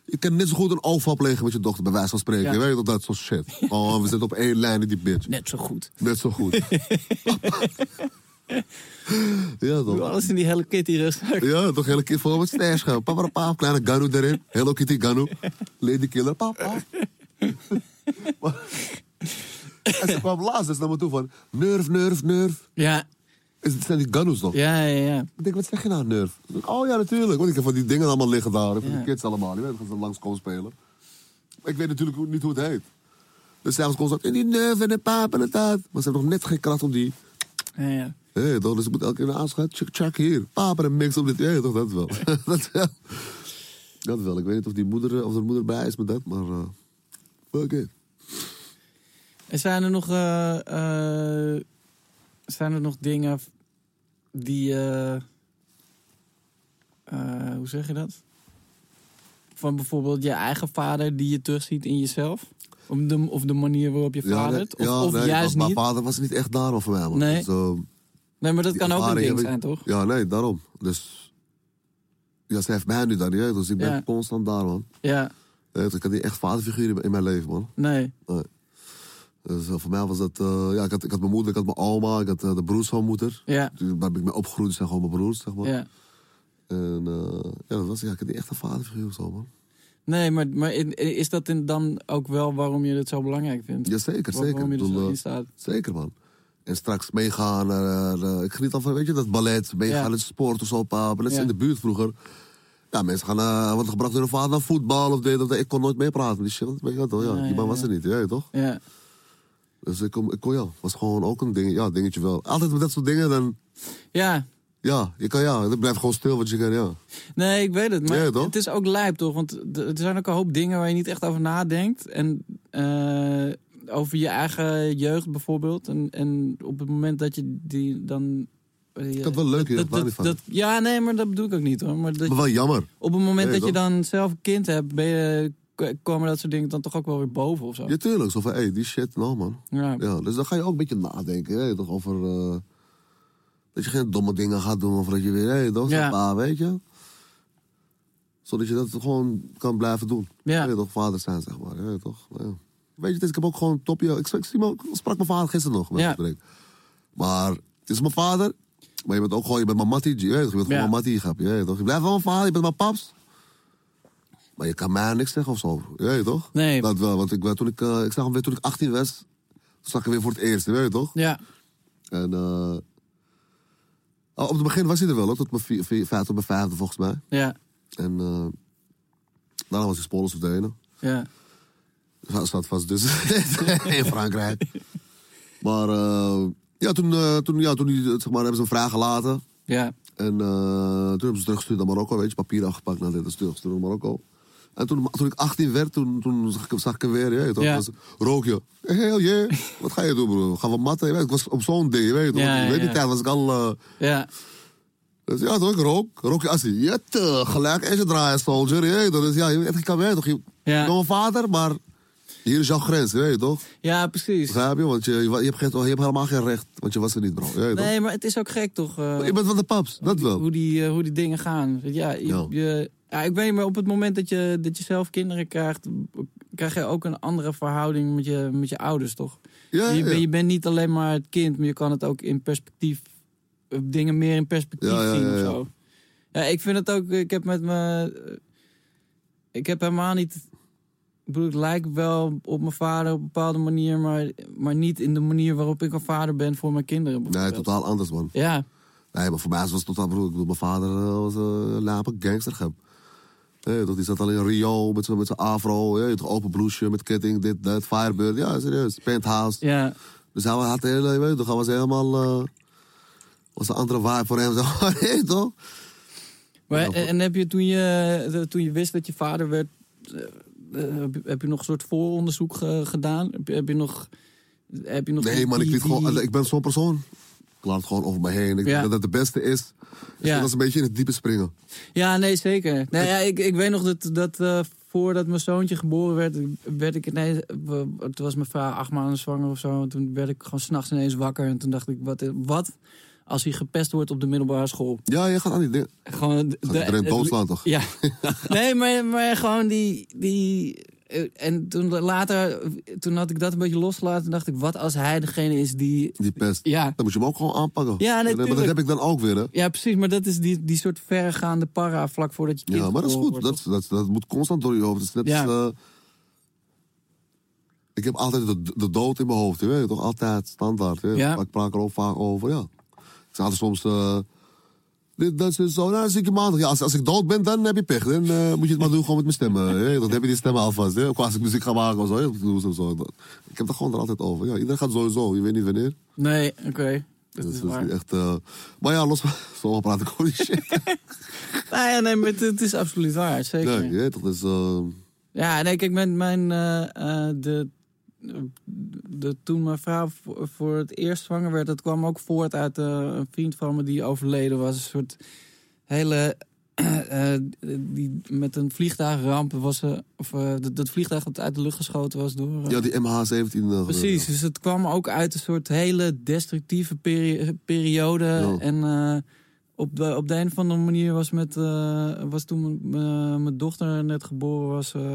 Speaker 3: Je kan net zo goed een overval plegen met je dochter, bij wijze van spreken.
Speaker 2: Ja.
Speaker 3: Je Weet je, toch, dat soort shit. Oh, we zitten op één lijn in die bitch.
Speaker 2: hebt. Net zo goed.
Speaker 3: Net zo goed.
Speaker 2: Doe
Speaker 3: ja, toch?
Speaker 2: alles in die Hello Kitty rugzak.
Speaker 3: Ja, toch hele keer voor met stash gaan. Papa, papa, kleine Ganu erin. Hello Kitty Ganu. Lady Killer, papa. Maar- en ze kwam laatst dus naar me toe van... Nerf, nerf, nerf.
Speaker 2: Ja,
Speaker 3: Is, zijn die Ganus nog?
Speaker 2: ja, ja. ja.
Speaker 3: Ik denk, wat zeg je nou, nerf? Oh ja, natuurlijk. Want ik heb van die dingen allemaal liggen daar. Van
Speaker 2: Ja.
Speaker 3: die kids allemaal. Je weet, gaan ze langs komen spelen. Maar ik weet natuurlijk hoe- niet hoe het heet. Dus s'avonds kon ze dat... En die nerf en de paap en de taart. Maar ze hebben nog net geen kracht om die...
Speaker 2: ja, ja.
Speaker 3: Hé, toch? Dus ik moet elke keer naar aanschouwen. Check, check hier. Paper en mix op dit. Hé, toch? Dat wel. dat wel. Dat wel. Ik weet niet of, die moeder, eh, of de moeder bij is met dat, maar... eh, fuck it.
Speaker 2: En zijn er nog, eh, eh, zijn er nog dingen die, eh, eh, hoe zeg je dat? Van bijvoorbeeld je eigen vader die je terugziet in jezelf? Of de, of de manier waarop je vadert?
Speaker 3: nee,
Speaker 2: of of
Speaker 3: nee,
Speaker 2: juist
Speaker 3: maar
Speaker 2: niet?
Speaker 3: Mijn vader was niet echt daar voor mij, man.
Speaker 2: Nee.
Speaker 3: Dus, eh,
Speaker 2: Nee, maar dat
Speaker 3: die
Speaker 2: kan ook een
Speaker 3: ervaring
Speaker 2: ding
Speaker 3: heb ik-
Speaker 2: zijn, toch?
Speaker 3: Ja, nee, daarom. Dus... Ja, ze heeft mij nu dan, niet. Dus ik ben
Speaker 2: Ja.
Speaker 3: constant daar, man.
Speaker 2: Ja,
Speaker 3: Hé, toch, ik had niet echt vaderfiguur in- in mijn leven, man.
Speaker 2: nee.
Speaker 3: Nee. Dus eh, voor mij was dat... eh, ja, ik had, ik had mijn moeder, ik had mijn oma, ik had eh, de broers van mijn moeder. Dus
Speaker 2: Ja,
Speaker 3: Waar ben ik mee opgegroeid, zijn gewoon mijn broers, zeg maar.
Speaker 2: ja.
Speaker 3: En eh, ja, dat was ja, ik had niet echt een vaderfiguur of zo, man.
Speaker 2: Nee, maar, maar in- is dat in- dan ook wel waarom je dit zo belangrijk vindt?
Speaker 3: Jazeker,
Speaker 2: Waar-
Speaker 3: zeker.
Speaker 2: Waarom je dus
Speaker 3: Ik
Speaker 2: er
Speaker 3: bedoel,
Speaker 2: zo
Speaker 3: eh,
Speaker 2: in staat?
Speaker 3: zeker, man. En straks meegaan naar... eh, ik geniet al van, weet je, dat ballet. Meegaan
Speaker 2: Ja.
Speaker 3: naar de sport of zo, pap. Net als
Speaker 2: Ja.
Speaker 3: in de buurt vroeger. Ja, mensen gaan... eh want gebracht door hun vader naar voetbal of dit of dat. Ik kon nooit meepraten met die shit. want Weet je wel, toch? Ja,
Speaker 2: Ja,
Speaker 3: die
Speaker 2: ja,
Speaker 3: man was
Speaker 2: ja.
Speaker 3: er niet, ja, toch?
Speaker 2: Ja.
Speaker 3: Dus ik, kon- ik kon, ja, was gewoon ook een ding, ja, dingetje wel. Altijd met dat soort dingen, dan...
Speaker 2: ja,
Speaker 3: Ja, je kan ja, dat blijft gewoon stil, want je kan ja.
Speaker 2: Nee, ik weet het. Maar
Speaker 3: Ja, toch?
Speaker 2: het is ook lijp, toch? Want d- er zijn ook een hoop dingen waar je niet echt over nadenkt. En eh, over je eigen jeugd bijvoorbeeld. En, en op het moment dat je die dan... eh,
Speaker 3: Ik had wel leuk, hier,
Speaker 2: dat,
Speaker 3: daar
Speaker 2: dat,
Speaker 3: niet van.
Speaker 2: dat- ja, nee, maar dat bedoel ik ook niet hoor. Maar dat,
Speaker 3: Maar wel jammer.
Speaker 2: op het moment
Speaker 3: Ja,
Speaker 2: dat je
Speaker 3: toch?
Speaker 2: dan zelf een kind hebt, ben je, k- komen dat soort dingen dan toch ook wel weer boven of zo.
Speaker 3: Ja, tuurlijk. Zo van, hé, die shit, nou man.
Speaker 2: Ja.
Speaker 3: Ja, dus dan ga je ook een beetje nadenken, hè, toch, over... eh, dat je geen domme dingen gaat doen, of dat je weer, hé, dat is
Speaker 2: Ja.
Speaker 3: een paar, weet je. Zodat je dat gewoon kan blijven doen.
Speaker 2: Ja.
Speaker 3: Hè, toch, vader zijn, zeg maar, hè, toch. Nou ja. Weet je, het is, ik heb ook gewoon topje... Ik, ik, zie me- ik sprak mijn vader gisteren nog,
Speaker 2: Ja.
Speaker 3: ja. Maar het is mijn vader, maar je bent ook gewoon, je bent mijn mattie, je, weet toch, je bent gewoon
Speaker 2: Ja.
Speaker 3: mijn mattie, grap, je, weet toch. Je blijft wel mijn vader, je bent mijn paps. Maar je kan mij niks zeggen of zo, je, weet toch.
Speaker 2: Nee.
Speaker 3: Dat wel, want ik, werd- toen ik, eh, ik zag hem weer toen ik 18 was, toen zag ik hem weer voor het eerst, weet je toch?
Speaker 2: Ja.
Speaker 3: En eh, oh, op het begin was hij er wel, hoor, tot mijn vier, vier, vijf, tot mijn vijfde volgens mij.
Speaker 2: Ja.
Speaker 3: En eh, daarna was hij spoorloos verdwenen.
Speaker 2: Ja.
Speaker 3: Hij staat vast dus in Frankrijk. Maar eh, ja, toen, eh, toen, ja, toen die, zeg maar, hebben ze een vraag gelaten.
Speaker 2: Ja.
Speaker 3: En eh, toen hebben ze teruggestuurd naar Marokko, weet je, papieren afgepakt naar dit, en teruggestuurd naar Marokko. En toen, toen ik 18 werd, toen, toen zag, ik, zag ik hem weer, je weet toch,
Speaker 2: Ja.
Speaker 3: was- rook je. Hell yeah, wat ga je doen bro? Gaan we matten? Je weet, ik was op zo'n ding, je weet toch.
Speaker 2: Ja,
Speaker 3: Ik weet
Speaker 2: ja.
Speaker 3: die tijd was ik al... eh,
Speaker 2: Ja.
Speaker 3: dus ja toch, ik rook. Rook je assie. Jette, gelijk is het draaien, soldier, je weet toch. Dus ja, je weet, ik kan weer toch. Je,
Speaker 2: Ja.
Speaker 3: ik ben mijn vader, maar hier is jouw grens, je weet toch.
Speaker 2: Ja, precies.
Speaker 3: Begrijp je? Want je, je, hebt geen, je hebt helemaal geen recht, want je was er niet bro, je weet toch.
Speaker 2: Nee, maar het is ook gek toch? eh,
Speaker 3: Je bent van de paps, dat wel.
Speaker 2: hoe die, eh, hoe die dingen gaan. Ja, je,
Speaker 3: Ja.
Speaker 2: je- ja, ik weet niet, maar op het moment dat je, dat je zelf kinderen krijgt, b- krijg je ook een andere verhouding met je, met je ouders, toch?
Speaker 3: Ja,
Speaker 2: je,
Speaker 3: ja.
Speaker 2: ben- je bent niet alleen maar het kind, maar je kan het ook in perspectief, eh, dingen meer in perspectief
Speaker 3: Ja, ja,
Speaker 2: zien
Speaker 3: ja,
Speaker 2: of
Speaker 3: ja.
Speaker 2: zo. Ja, ik vind het ook, ik heb met me, eh, ik heb helemaal niet, ik bedoel, ik lijk wel op mijn vader op een bepaalde manier, maar, maar niet in de manier waarop ik een vader ben voor mijn kinderen.
Speaker 3: Nee,
Speaker 2: bijvoorbeeld.
Speaker 3: totaal anders, man.
Speaker 2: Ja,
Speaker 3: Nee, maar voor mij was het totaal broer. Ik bedoel, mijn vader eh, was een lape gangster. gep. Nee, toch, die zat al in Rio met zijn met zijn afro. Ja, toch, open blouseje met ketting, dit, dat, Firebird. Ja, serieus. Penthouse.
Speaker 2: ja.
Speaker 3: Dus hij had heel, je weet toch, hij was helemaal... eh, was een andere vibe voor hem. zeg maar. Nee, toch?
Speaker 2: Maar,
Speaker 3: Ja,
Speaker 2: en, en heb je toen, je eh, toen je wist dat je vader werd, eh, eh, heb je- heb je nog een soort vooronderzoek ge- gedaan? Heb je, heb je nog. Heb je nog
Speaker 3: Nee,
Speaker 2: die-
Speaker 3: man, ik,
Speaker 2: die-
Speaker 3: liet gewoon,
Speaker 2: die-
Speaker 3: ik ben zo'n persoon. Ik laat het gewoon over me heen. Ik
Speaker 2: Ja.
Speaker 3: denk dat dat het beste is. is
Speaker 2: Ja.
Speaker 3: Dat is een beetje in het diepe springen.
Speaker 2: Ja, nee, zeker. Nee, ja, ik, ik weet nog dat, dat eh, voordat mijn zoontje geboren werd, werd ik ineens... we- Het was mijn vrouw acht maanden zwanger of zo. En toen werd ik gewoon s'nachts ineens wakker. En toen dacht ik, wat, wat als hij gepest wordt op de middelbare school?
Speaker 3: Ja, je gaat aan die dingen.
Speaker 2: Gewoon... de-
Speaker 3: Gaat iedereen
Speaker 2: het-
Speaker 3: doodslaan toch?
Speaker 2: Ja. nee, maar, maar gewoon die... die eh, en toen later, toen had ik dat een beetje losgelaten. Toen dacht ik, wat als hij degene is die...
Speaker 3: Die pest.
Speaker 2: Ja,
Speaker 3: Dan moet je hem ook gewoon aanpakken.
Speaker 2: Ja, nee,
Speaker 3: En, eh, Maar dat
Speaker 2: tuurlijk.
Speaker 3: heb ik dan ook weer, hè.
Speaker 2: ja precies. Maar dat is die, die soort verregaande para vlak voordat je kind
Speaker 3: Ja, maar dat is
Speaker 2: geboren
Speaker 3: goed.
Speaker 2: wordt.
Speaker 3: Dat, dat, dat moet constant door je hoofd. Dat is net
Speaker 2: Ja.
Speaker 3: als, eh, ik heb altijd de, de dood in mijn hoofd, je weet het toch? Altijd, standaard. hè.
Speaker 2: Ja.
Speaker 3: Maar Ik praat er ook vaak over, ja. Ik zeg altijd soms... eh, dit, dat is zo, nou, dan zie ik je maandag. Ja, als, als ik dood ben, dan heb je pech. Dan eh, moet je het maar doen gewoon met mijn stemmen. je weet het, Dan heb je die stemmen alvast. hè. Ook als ik muziek ga maken of zo. hè, doe zo, zo. Dat- Ik heb er gewoon er altijd over. Ja, iedereen gaat sowieso, je weet niet wanneer.
Speaker 2: Nee, oké. Dat
Speaker 3: Dus
Speaker 2: is
Speaker 3: dat is
Speaker 2: waar.
Speaker 3: niet echt... eh, maar ja, los van... Zo praat ik gewoon niet shit.
Speaker 2: Nou ja, nee, maar het, het is absoluut waar, zeker.
Speaker 3: Nee, je weet toch, dat is... eh,
Speaker 2: Ja, nee, kijk, mijn, mijn, eh, eh, de, de, toen mijn vrouw voor, voor het eerst zwanger werd, dat kwam ook voort uit eh, een vriend van me die overleden was. Een soort hele, eh, eh, die met een vliegtuigramp was, ze of eh, dat, dat vliegtuig dat uit de lucht geschoten was door... eh,
Speaker 3: ja, die MH17... eh,
Speaker 2: Precies, dus het kwam ook uit een soort hele destructieve peri- periode.
Speaker 3: Ja.
Speaker 2: En eh, op, de, op de een of andere manier was, met, eh, was toen mijn- mijn- mijn dochter net geboren was... eh,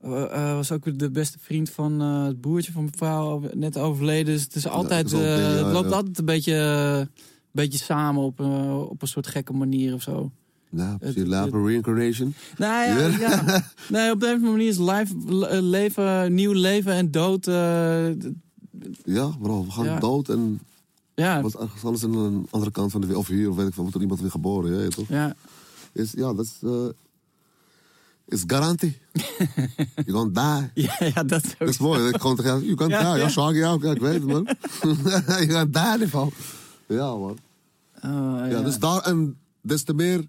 Speaker 2: eh, eh, was ook weer de beste vriend van eh, het broertje van mijn vrouw net overleden. Dus het is altijd,
Speaker 3: dat is altijd,
Speaker 2: eh,
Speaker 3: ja,
Speaker 2: het loopt
Speaker 3: ja.
Speaker 2: altijd een beetje, eh, beetje samen op, eh, op een soort gekke manier of zo.
Speaker 3: Ja, precies.
Speaker 2: Het-
Speaker 3: Later reincarnation.
Speaker 2: Nou ja,
Speaker 3: Ja.
Speaker 2: ja. Nee, op de een of andere manier is life, le- leven, nieuw leven en dood. eh, d-
Speaker 3: Ja, bro, we gaan
Speaker 2: Ja.
Speaker 3: dood en
Speaker 2: ja,
Speaker 3: wat ergens anders aan een andere kant van de wereld. Of hier, of weet ik veel, wordt er iemand weer geboren, je weet toch?
Speaker 2: ja.
Speaker 3: Is, ja, dat is... eh, is garantie. you gonna die.
Speaker 2: Ja, ja, dat is ook
Speaker 3: Dat is mooi, dat ik gewoon tegen jou... You gonna
Speaker 2: Ja,
Speaker 3: die.
Speaker 2: ja.
Speaker 3: Ja, sorry, ja, oké, ik weet het, man. you gonna die in ieder geval. Ja, man.
Speaker 2: Oh, ja.
Speaker 3: Ja, dus daar en des te meer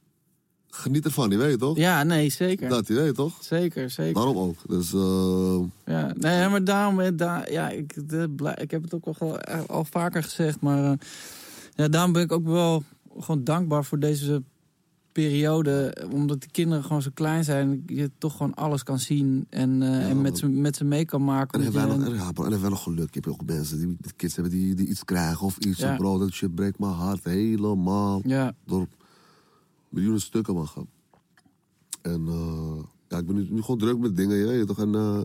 Speaker 3: geniet ervan, je weet toch?
Speaker 2: Ja, nee, zeker.
Speaker 3: Dat, je weet toch?
Speaker 2: Zeker, zeker.
Speaker 3: Daarom ook. Dus, eh,
Speaker 2: Ja. Nee, maar daarom, eh, daar, ja, ik, de, blij- ik heb het ook al, ge- eh, al vaker gezegd, maar eh, ja, daarom ben ik ook wel gewoon dankbaar voor deze periode. Omdat de kinderen gewoon zo klein zijn, je toch gewoon alles kan zien en, eh, en met,
Speaker 3: man.
Speaker 2: ze, met ze mee kan maken.
Speaker 3: En
Speaker 2: Omdat
Speaker 3: hebben
Speaker 2: je-
Speaker 3: wij nog, ja, bro, en hebben wij nog geluk. Je hebt ook mensen die die kids hebben die, die iets krijgen of iets.
Speaker 2: Ja.
Speaker 3: Bro, dat shit breekt mijn hart helemaal.
Speaker 2: ja,
Speaker 3: Door miljoenen stukken, man. grap. En eh, ja, ik ben nu, nu gewoon druk met dingen, je weet toch. En eh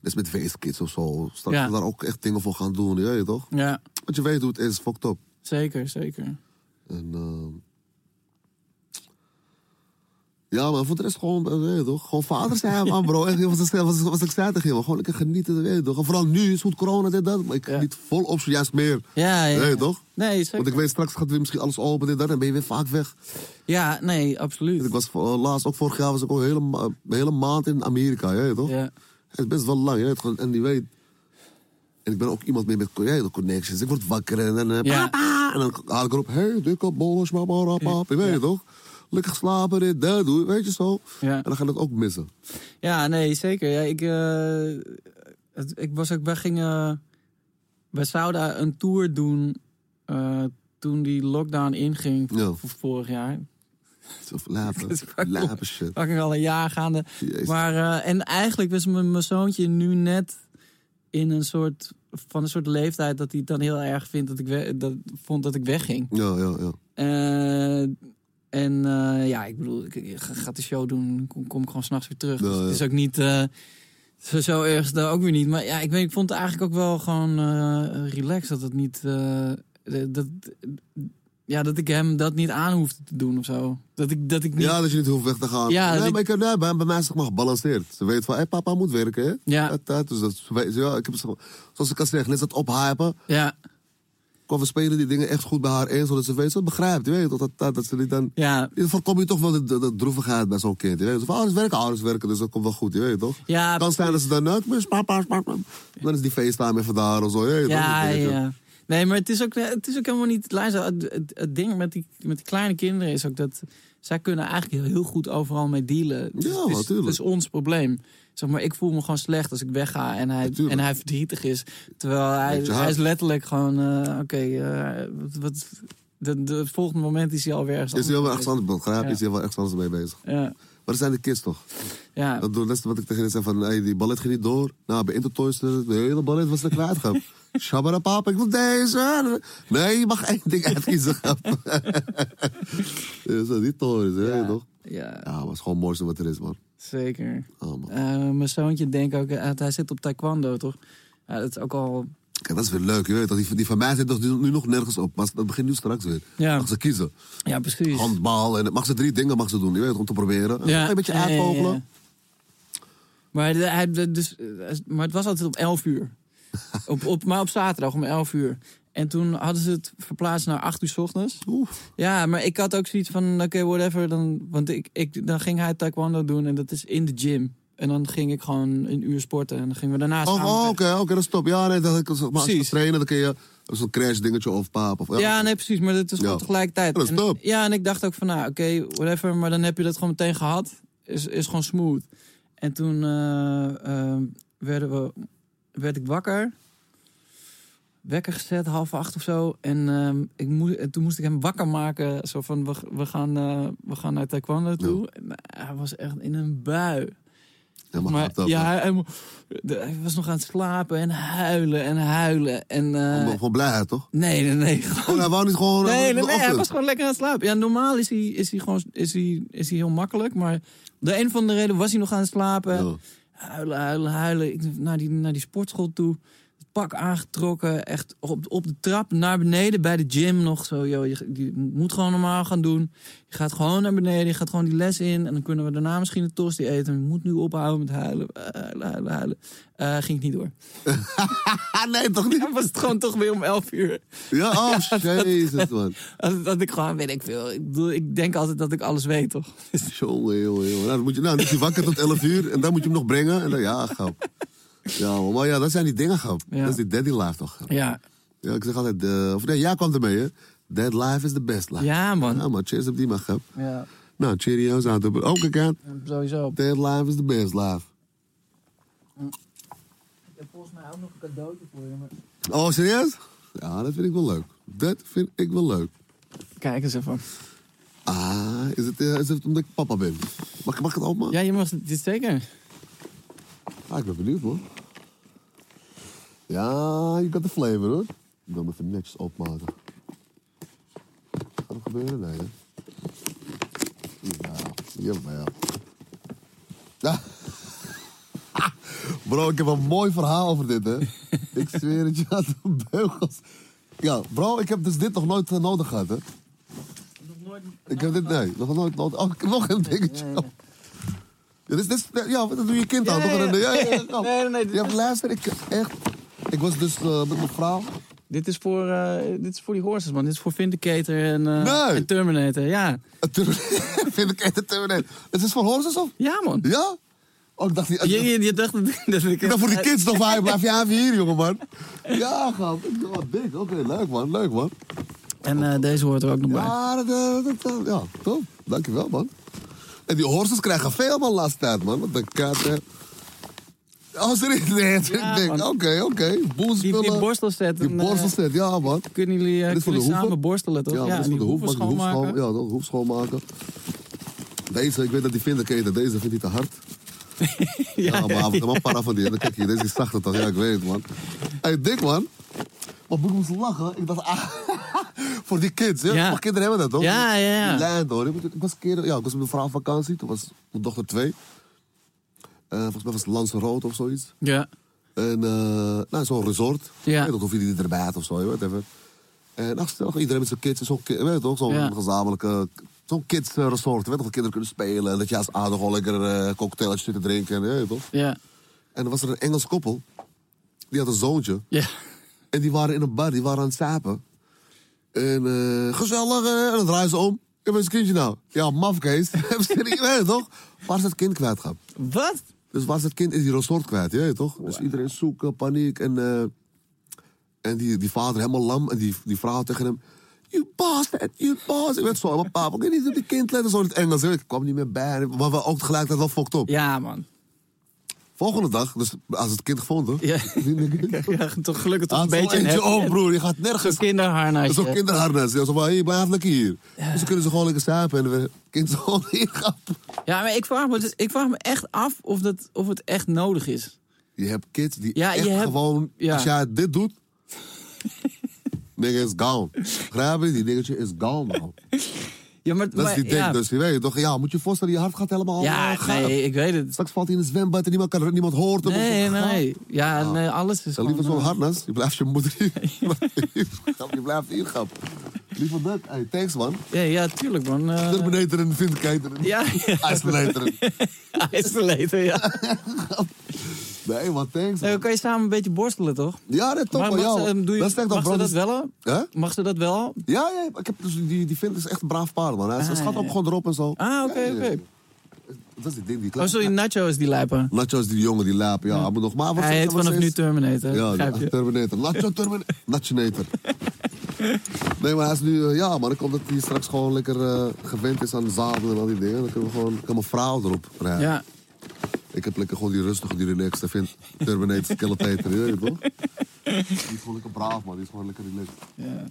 Speaker 3: net als met Waze Kids of zo. Straks
Speaker 2: Ja.
Speaker 3: we daar ook echt dingen voor gaan doen, je weet toch.
Speaker 2: ja,
Speaker 3: Want je weet hoe het is, fucked up.
Speaker 2: zeker, zeker.
Speaker 3: En, eh, ja, maar voor de rest gewoon, eh, weet je toch, gewoon vader zijn, man, bro. Echt, wat, ik- wat, wat ik zei tegen je, man. Gewoon lekker genieten, weet je toch. En vooral nu, is goed corona, dit, dat. Maar ik
Speaker 2: Ja.
Speaker 3: geniet volop, juist meer.
Speaker 2: Ja, ja.
Speaker 3: Weet je toch?
Speaker 2: Nee, zeker.
Speaker 3: Want ik weet, straks gaat weer misschien alles open, dit, dat. En ben je weer vaak weg.
Speaker 2: Ja, nee, absoluut.
Speaker 3: Ik was eh, laatst, ook vorig jaar, was ik al een hele, ma- een hele maand in Amerika, je weet toch.
Speaker 2: Ja.
Speaker 3: Het is best wel lang, je weet toch. En die weet... En ik ben ook iemand meer met je weet toch, connections. Ik word wakker en dan... eh,
Speaker 2: Ja.
Speaker 3: Ah, En dan haal ik erop, hey, dikke bollen, maar maar rap, rap. Je weet het toch? Lekker slapen, dit, dat, doe, weet je zo.
Speaker 2: Ja.
Speaker 3: En dan ga je dat ook missen.
Speaker 2: Ja, nee, zeker. Ja, ik, eh, het- ik was ook, wij gingen, wij zouden een tour doen eh, toen die lockdown inging v-
Speaker 3: Ja.
Speaker 2: v- vorig jaar.
Speaker 3: Of lapen,
Speaker 2: is waar,
Speaker 3: lapen
Speaker 2: hoor.
Speaker 3: shit.
Speaker 2: Fucking al een jaar gaande.
Speaker 3: Jezus.
Speaker 2: Maar, eh, en eigenlijk was mijn, mijn zoontje nu net in een soort, van een soort leeftijd dat hij het dan heel erg vindt dat ik, we- dat, vond dat ik wegging.
Speaker 3: Ja, ja, ja.
Speaker 2: Eh, en eh, ja, ik bedoel, ik, ik ga gaat de show doen, kom, kom ik gewoon s'nachts weer terug.
Speaker 3: Ja,
Speaker 2: Dus het
Speaker 3: ja.
Speaker 2: is ook niet eh, zo, zo erg, daar ook weer niet. Maar ja, ik, weet, ik vond het eigenlijk ook wel gewoon eh relaxed dat het niet. eh, dat, ja, dat ik hem dat niet aan hoefde te doen of zo. Dat ik, dat ik niet.
Speaker 3: Ja, dat je niet hoeft weg te gaan.
Speaker 2: Ja,
Speaker 3: nee,
Speaker 2: dat
Speaker 3: maar ik, nee, bij, bij mij is het maar gebalanceerd. Ze weet van, hé, papa moet werken, hè?
Speaker 2: Ja.
Speaker 3: Dat, dat, dus dat, ze weet- ja, ik heb, ze- zoals ik al zeg, net dat ophypen.
Speaker 2: Ja,
Speaker 3: Kom, we spelen die dingen echt goed bij haar in, zodat ze weet, ze begrijpt, je weet, dat, dat, dat, dat ze niet dan...
Speaker 2: ja,
Speaker 3: Dan voorkom je toch wel de, de, de droevigheid bij zo'n kind. Je weet, van oh, ouders werken, ouders werken, dus dat komt wel goed, je weet toch?
Speaker 2: Ja,
Speaker 3: kan zijn dat ze dan, nou, ik mis papa, papa. Dan is die FaceTime even daar of zo, je weet toch?
Speaker 2: ja,
Speaker 3: Dat dingetje.
Speaker 2: ja. Nee, maar het is ook, het is ook helemaal niet. Luister, het, het, het ding met die, met die kleine kinderen is ook dat zij kunnen eigenlijk heel, heel goed overal mee dealen. Dus
Speaker 3: Ja,
Speaker 2: het is,
Speaker 3: natuurlijk.
Speaker 2: Het is ons probleem. Zeg maar, ik voel me gewoon slecht als ik wegga en hij,
Speaker 3: Natuurlijk.
Speaker 2: en hij verdrietig is. Terwijl hij,
Speaker 3: Met je
Speaker 2: hij
Speaker 3: hart.
Speaker 2: is letterlijk gewoon, eh, oké, eh, wat, wat, de, de het volgende moment is hij alweer ergens
Speaker 3: Is hij
Speaker 2: anders
Speaker 3: wel ergens anders, begrijp je?
Speaker 2: Ja.
Speaker 3: Is hij wel ergens anders mee bezig?
Speaker 2: mee. Ja,
Speaker 3: Maar dat zijn de kids toch?
Speaker 2: ja.
Speaker 3: Dat doet net wat ik tegen je zei van, hey, die ballet ging niet door. Nou, bij Intertoys, eh, de hele ballet was er kwijt gaan. Shabara papa, ik wil deze. Nee, je mag één ding uitkiezen. grap. dus, eh, die torens, hè,
Speaker 2: ja,
Speaker 3: toch?
Speaker 2: ja,
Speaker 3: Ja, maar het is gewoon het mooiste wat er is, man.
Speaker 2: zeker.
Speaker 3: Oh, man.
Speaker 2: Eh, mijn zoontje denkt ook, eh, hij zit op taekwondo, toch? Ja, dat is ook al...
Speaker 3: Kijk, dat is weer leuk, je weet toch? Die, die van mij zit nog, nu, nu nog nergens op. Maar dat begint nu straks weer.
Speaker 2: Ja.
Speaker 3: Mag ze kiezen.
Speaker 2: Ja, precies.
Speaker 3: Handbal. En, mag ze drie dingen mag ze doen, je weet, om te proberen.
Speaker 2: Ja,
Speaker 3: een beetje
Speaker 2: ja, ja, ja.
Speaker 3: uitvogelen.
Speaker 2: Maar, de- hij, de- dus, eh, maar het was altijd om 11 uur. op, op, maar op zaterdag om 11 uur. En toen hadden ze het verplaatst naar 8 uur 's ochtends.
Speaker 3: Oeh.
Speaker 2: Ja, maar ik had ook zoiets van, oké, whatever. Dan, want ik, ik, dan ging hij taekwondo doen en dat is in de gym. En dan ging ik gewoon een uur sporten. En dan gingen we daarna
Speaker 3: Oh,
Speaker 2: samen
Speaker 3: oh, oké,
Speaker 2: weg.
Speaker 3: oké, dat stop. Ja, nee, dat, maar als je
Speaker 2: Precies.
Speaker 3: gaat trainen, dan kun je zo'n crash dingetje of paap. Of,
Speaker 2: Ja, nee, precies, maar dat is gewoon
Speaker 3: Ja.
Speaker 2: tegelijkertijd.
Speaker 3: Ja, dat is
Speaker 2: En-
Speaker 3: top.
Speaker 2: ja, en ik dacht ook van, nou, oké, whatever, maar dan heb je dat gewoon meteen gehad. Is, is gewoon smooth. En toen eh, ehm, werden we, werd ik wakker. Wekker gezet, half acht of zo. En, ehm, ik moe- en toen moest ik hem wakker maken. Zo van, we, we, gaan, eh, we gaan naar taekwondo toe. En, eh, hij was echt in een bui.
Speaker 3: Helemaal
Speaker 2: maar,
Speaker 3: gaaf dat,
Speaker 2: ja,
Speaker 3: man.
Speaker 2: hij, hij mo- de- hij was nog aan het slapen en huilen en huilen. En, eh,
Speaker 3: Gewoon- Gewoon blijheid, toch?
Speaker 2: nee, nee, nee.
Speaker 3: Oh, hij wou niet gewoon...
Speaker 2: Nee,
Speaker 3: eh,
Speaker 2: nee, nee, hij
Speaker 3: offeren.
Speaker 2: was gewoon lekker aan het slapen. Ja, normaal is hij, is hij, gewoon, is hij, is hij heel makkelijk, maar de een van de reden was hij nog aan het slapen.
Speaker 3: Ja.
Speaker 2: Huilen, huilen, huilen. Ik naar die, naar die sportschool toe. Het pak aangetrokken, echt op, op de trap naar beneden bij de gym nog zo. Yo, je, je moet gewoon normaal gaan doen. Je gaat gewoon naar beneden, je gaat gewoon die les in. En dan kunnen we daarna misschien een tosti eten. Je moet nu ophouden met huilen, huilen, huilen, huilen. Eh, ging het niet door.
Speaker 3: Ah, nee, toch niet?
Speaker 2: Dan was het gewoon toch weer om elf uur.
Speaker 3: Ja, oh, jezus, man.
Speaker 2: Dat, dat ik gewoon, weet ik veel. Ik bedoel, ik denk altijd dat ik alles weet, toch? Dus,
Speaker 3: Jongen, jongen, jongen. Nou, dan moet je, nou, dan is hij wakker tot 11 uur en dan moet je hem nog brengen. En dan, ja, grap. Ja, man, maar ja, dat zijn die dingen, grap.
Speaker 2: Ja.
Speaker 3: Dat is die daddy life, toch? grap.
Speaker 2: ja.
Speaker 3: Ja, ik zeg altijd, eh, of nee, jij kwam ermee, hè? Dead life is the best life.
Speaker 2: ja, man.
Speaker 3: Ja, man, cheers op die, man, grap.
Speaker 2: Ja,
Speaker 3: Nou, cheerio's aan de... Ook een kant.
Speaker 2: sowieso.
Speaker 3: Dead life is the best life.
Speaker 2: Ik heb volgens mij ook nog een cadeautje voor je.
Speaker 3: Oh, serieus? Ja, dat vind ik wel leuk. Dat vind ik wel leuk.
Speaker 2: Kijk eens even.
Speaker 3: Ah, is het, eh, is het omdat ik papa ben? Mag, ik- mag ik het openmaken?
Speaker 2: Ja, je mag dit zeker.
Speaker 3: Ah, ik ben benieuwd, man. Ja, je got de flavor, hoor. Ik wil hem even netjes opmaken. Gaat er gebeuren? Nee, hè? Ja, jawel. Ja. Bro, ik heb een mooi verhaal over dit, hè. Ik zweer het je aan de beugels. Ja, bro, ik heb dus dit nog nooit eh, nodig gehad, hè. Ik heb dit, nee, nog nooit nodig. Oh, ik heb nog een dingetje. Ja, dit is, dit is- ja, dat doe je kind aan,
Speaker 2: Ja, ja,
Speaker 3: toch?
Speaker 2: ja.
Speaker 3: Ja, ja, ja. kom.
Speaker 2: Nee, nee, nee, dit
Speaker 3: Nou, Ja, luister, ik echt... Ik was dus eh, met mijn vrouw...
Speaker 2: Dit is voor, eh, dit is voor die horses, man. Dit is voor Vindicator en, eh,
Speaker 3: Nee.
Speaker 2: en Terminator. Ja.
Speaker 3: Het Terminator- vind ik echt het Terminator. Het is voor horses of?
Speaker 2: Ja, man.
Speaker 3: Ja? Oh, ik dacht niet.
Speaker 2: Je, je, je dacht dat dat ik...
Speaker 3: Ik dacht voor die kids nog waar. Blijf je even hier, jongen, man. Ja, gauw. Oh, dik. Oké, leuk, man. Leuk, man.
Speaker 2: En eh, deze hoort er ook nog bij.
Speaker 3: Ja, dat, eh, dat, dat- ja, top. Dankjewel, man. En die horses krijgen veel, man, laatste tijd, man. Wat een kat, hè. Oh, serieus? Nee,
Speaker 2: Ja,
Speaker 3: ik denk,
Speaker 2: man.
Speaker 3: oké, oké.
Speaker 2: Die,
Speaker 3: Boelspullen.
Speaker 2: die borstelstet.
Speaker 3: Die
Speaker 2: en, eh,
Speaker 3: borstelstet, ja, man.
Speaker 2: Kunnen jullie, eh,
Speaker 3: Dit is
Speaker 2: kunnen
Speaker 3: voor de
Speaker 2: jullie samen
Speaker 3: hoeven.
Speaker 2: borstelen, toch?
Speaker 3: Ja, dat is
Speaker 2: en
Speaker 3: voor de hoef,
Speaker 2: hoeven
Speaker 3: mag die hoef schoon-
Speaker 2: schoonmaken.
Speaker 3: ja, dat hoef schoonmaken. Deze, ik weet dat die vindicator, deze vindt hij te hard. ja, maar af en toe, maar para van die. En dan kijk je, deze is zachter toch? Ja, ik weet het, man. hey, dik, man. Maar broer, ik moest lachen. Ik dacht, ah, voor die kids, hè?
Speaker 2: Ja.
Speaker 3: Maar kinderen hebben dat, toch?
Speaker 2: Ja, ja, ja.
Speaker 3: Die lijn, hoor. Ik bedoel, ik was, een keer, ja, ik was met mijn vrouw op vakantie, toen was mijn dochter twee. Eh, volgens mij was het Lanzarote of zoiets.
Speaker 2: Ja.
Speaker 3: En eh, nou, zo'n resort.
Speaker 2: Ja.
Speaker 3: Ja. Dat hoef je niet erbij had of zo, je weet even. En ach, stel, iedereen met zijn kids. en Zo'n ki- weet je toch, zo'n
Speaker 2: Ja.
Speaker 3: gezamenlijke... Zo'n kids eh, resort, weet je toch, kinderen kunnen spelen. Dat je als ouder gewoon lekker eh cocktailtjes zit te drinken. En, weet je toch.
Speaker 2: Ja.
Speaker 3: en dan was er een Engels koppel. Die had een zoontje.
Speaker 2: Ja.
Speaker 3: En die waren in een bar, die waren aan het sapen. En eh, gezellig, eh, en dan draaien ze om. Ik heb een kindje nou. Ja, mafkees. Hebben ze niet- weet je toch? Waar is dat kind kwijt gaan?
Speaker 2: Wat?
Speaker 3: Dus was dat kind in die resort kwijt, je weet toch? Dus iedereen zoeken, paniek. En, eh, en die, die vader helemaal lam. En die, die vrouw tegen hem... You bastard, you bastard. Ik werd zo, maar papa, ik niet op die kind letten, zo in het Engels. Ik kwam niet meer bij. Maar we ook tegelijkertijd wel fucked op.
Speaker 2: Ja, man.
Speaker 3: Volgende dag, dus als het kind gevonden wordt.
Speaker 2: Ja, ja toch gelukkig toch
Speaker 3: Haal
Speaker 2: een
Speaker 3: zo'n
Speaker 2: beetje een
Speaker 3: eentje
Speaker 2: hef-
Speaker 3: om, broer. Je gaat
Speaker 2: Zo'n
Speaker 3: nergens.
Speaker 2: kinderharnas.
Speaker 3: Zo'n
Speaker 2: ja.
Speaker 3: kinderharnas. Ja, zo van, hey, blijf lekker hier. Dus dan kunnen ze gewoon lekker slapen en we kind zo gewoon ingappen.
Speaker 2: Ja, maar ik vraag me, dus- ik vraag me echt af of, dat, of het echt nodig is.
Speaker 3: Je hebt kids die
Speaker 2: Ja,
Speaker 3: echt
Speaker 2: je hebt-
Speaker 3: gewoon...
Speaker 2: ja.
Speaker 3: Als jij dit doet... nigga is gone. Graag die niggertje is gone, man.
Speaker 2: Ja, maar,
Speaker 3: Dat is
Speaker 2: maar-
Speaker 3: die ding.
Speaker 2: ja.
Speaker 3: Dus je weet toch, ja, moet je je voorstellen, je hart gaat helemaal
Speaker 2: ja,
Speaker 3: eh, gaaf.
Speaker 2: nee, ik weet het.
Speaker 3: Straks valt hij in het zwembad en niemand, kan, niemand hoort hem.
Speaker 2: Nee,
Speaker 3: Of zo.
Speaker 2: nee. Ja, nee, alles is
Speaker 3: Ah. Ja,
Speaker 2: gewoon,
Speaker 3: liever zo'n
Speaker 2: eh,
Speaker 3: harnas. Je blijft je moeder hier. je blijft hier, grap. Liever dat. Hey, thanks, man.
Speaker 2: Ja, ja, tuurlijk, man. eh,
Speaker 3: Terminator en Vindcator.
Speaker 2: ja,
Speaker 3: Isolator.
Speaker 2: isolator, ja.
Speaker 3: Nee, man, thanks.
Speaker 2: Nee,
Speaker 3: man.
Speaker 2: dan kan je samen een beetje borstelen, toch?
Speaker 3: Ja, dat toch
Speaker 2: Maar
Speaker 3: wel.
Speaker 2: mag,
Speaker 3: Ja,
Speaker 2: ze, ehm, doe je,
Speaker 3: dat is echt
Speaker 2: mag ze dat wel?
Speaker 3: Hè?
Speaker 2: Mag ze dat wel?
Speaker 3: Ja, ja, ik heb dus die, die Vint is echt een braaf paard, man. Hij
Speaker 2: Ah,
Speaker 3: schat
Speaker 2: ja.
Speaker 3: op gewoon erop en zo.
Speaker 2: Ah, oké,
Speaker 3: Ja, ja, ja.
Speaker 2: oké.
Speaker 3: Dat is die ding die
Speaker 2: Oh,
Speaker 3: klaar.
Speaker 2: sorry, Nacho is die lijper.
Speaker 3: Nacho is die jongen die laap. Ja, hij moet nog maar... wat
Speaker 2: Hij heet
Speaker 3: zeggen,
Speaker 2: vanaf
Speaker 3: maar
Speaker 2: nu
Speaker 3: steeds-
Speaker 2: Terminator,
Speaker 3: Ja,
Speaker 2: begrijp
Speaker 3: die-
Speaker 2: je?
Speaker 3: Terminator. Nacho Terminator. Nachonator. Nee, maar hij is nu... eh, ja, maar dan komt dat hij straks gewoon lekker eh, gewend is aan de zadel en al die dingen. Dan kunnen we gewoon... kan mijn vrouw erop rijden.
Speaker 2: Ja.
Speaker 3: Ik heb lekker gewoon die rustige, die relaxed vind. Terminator, Skeletor, je weet toch? Die is gewoon lekker braaf, man. Die is gewoon lekker relaxed.
Speaker 2: ja.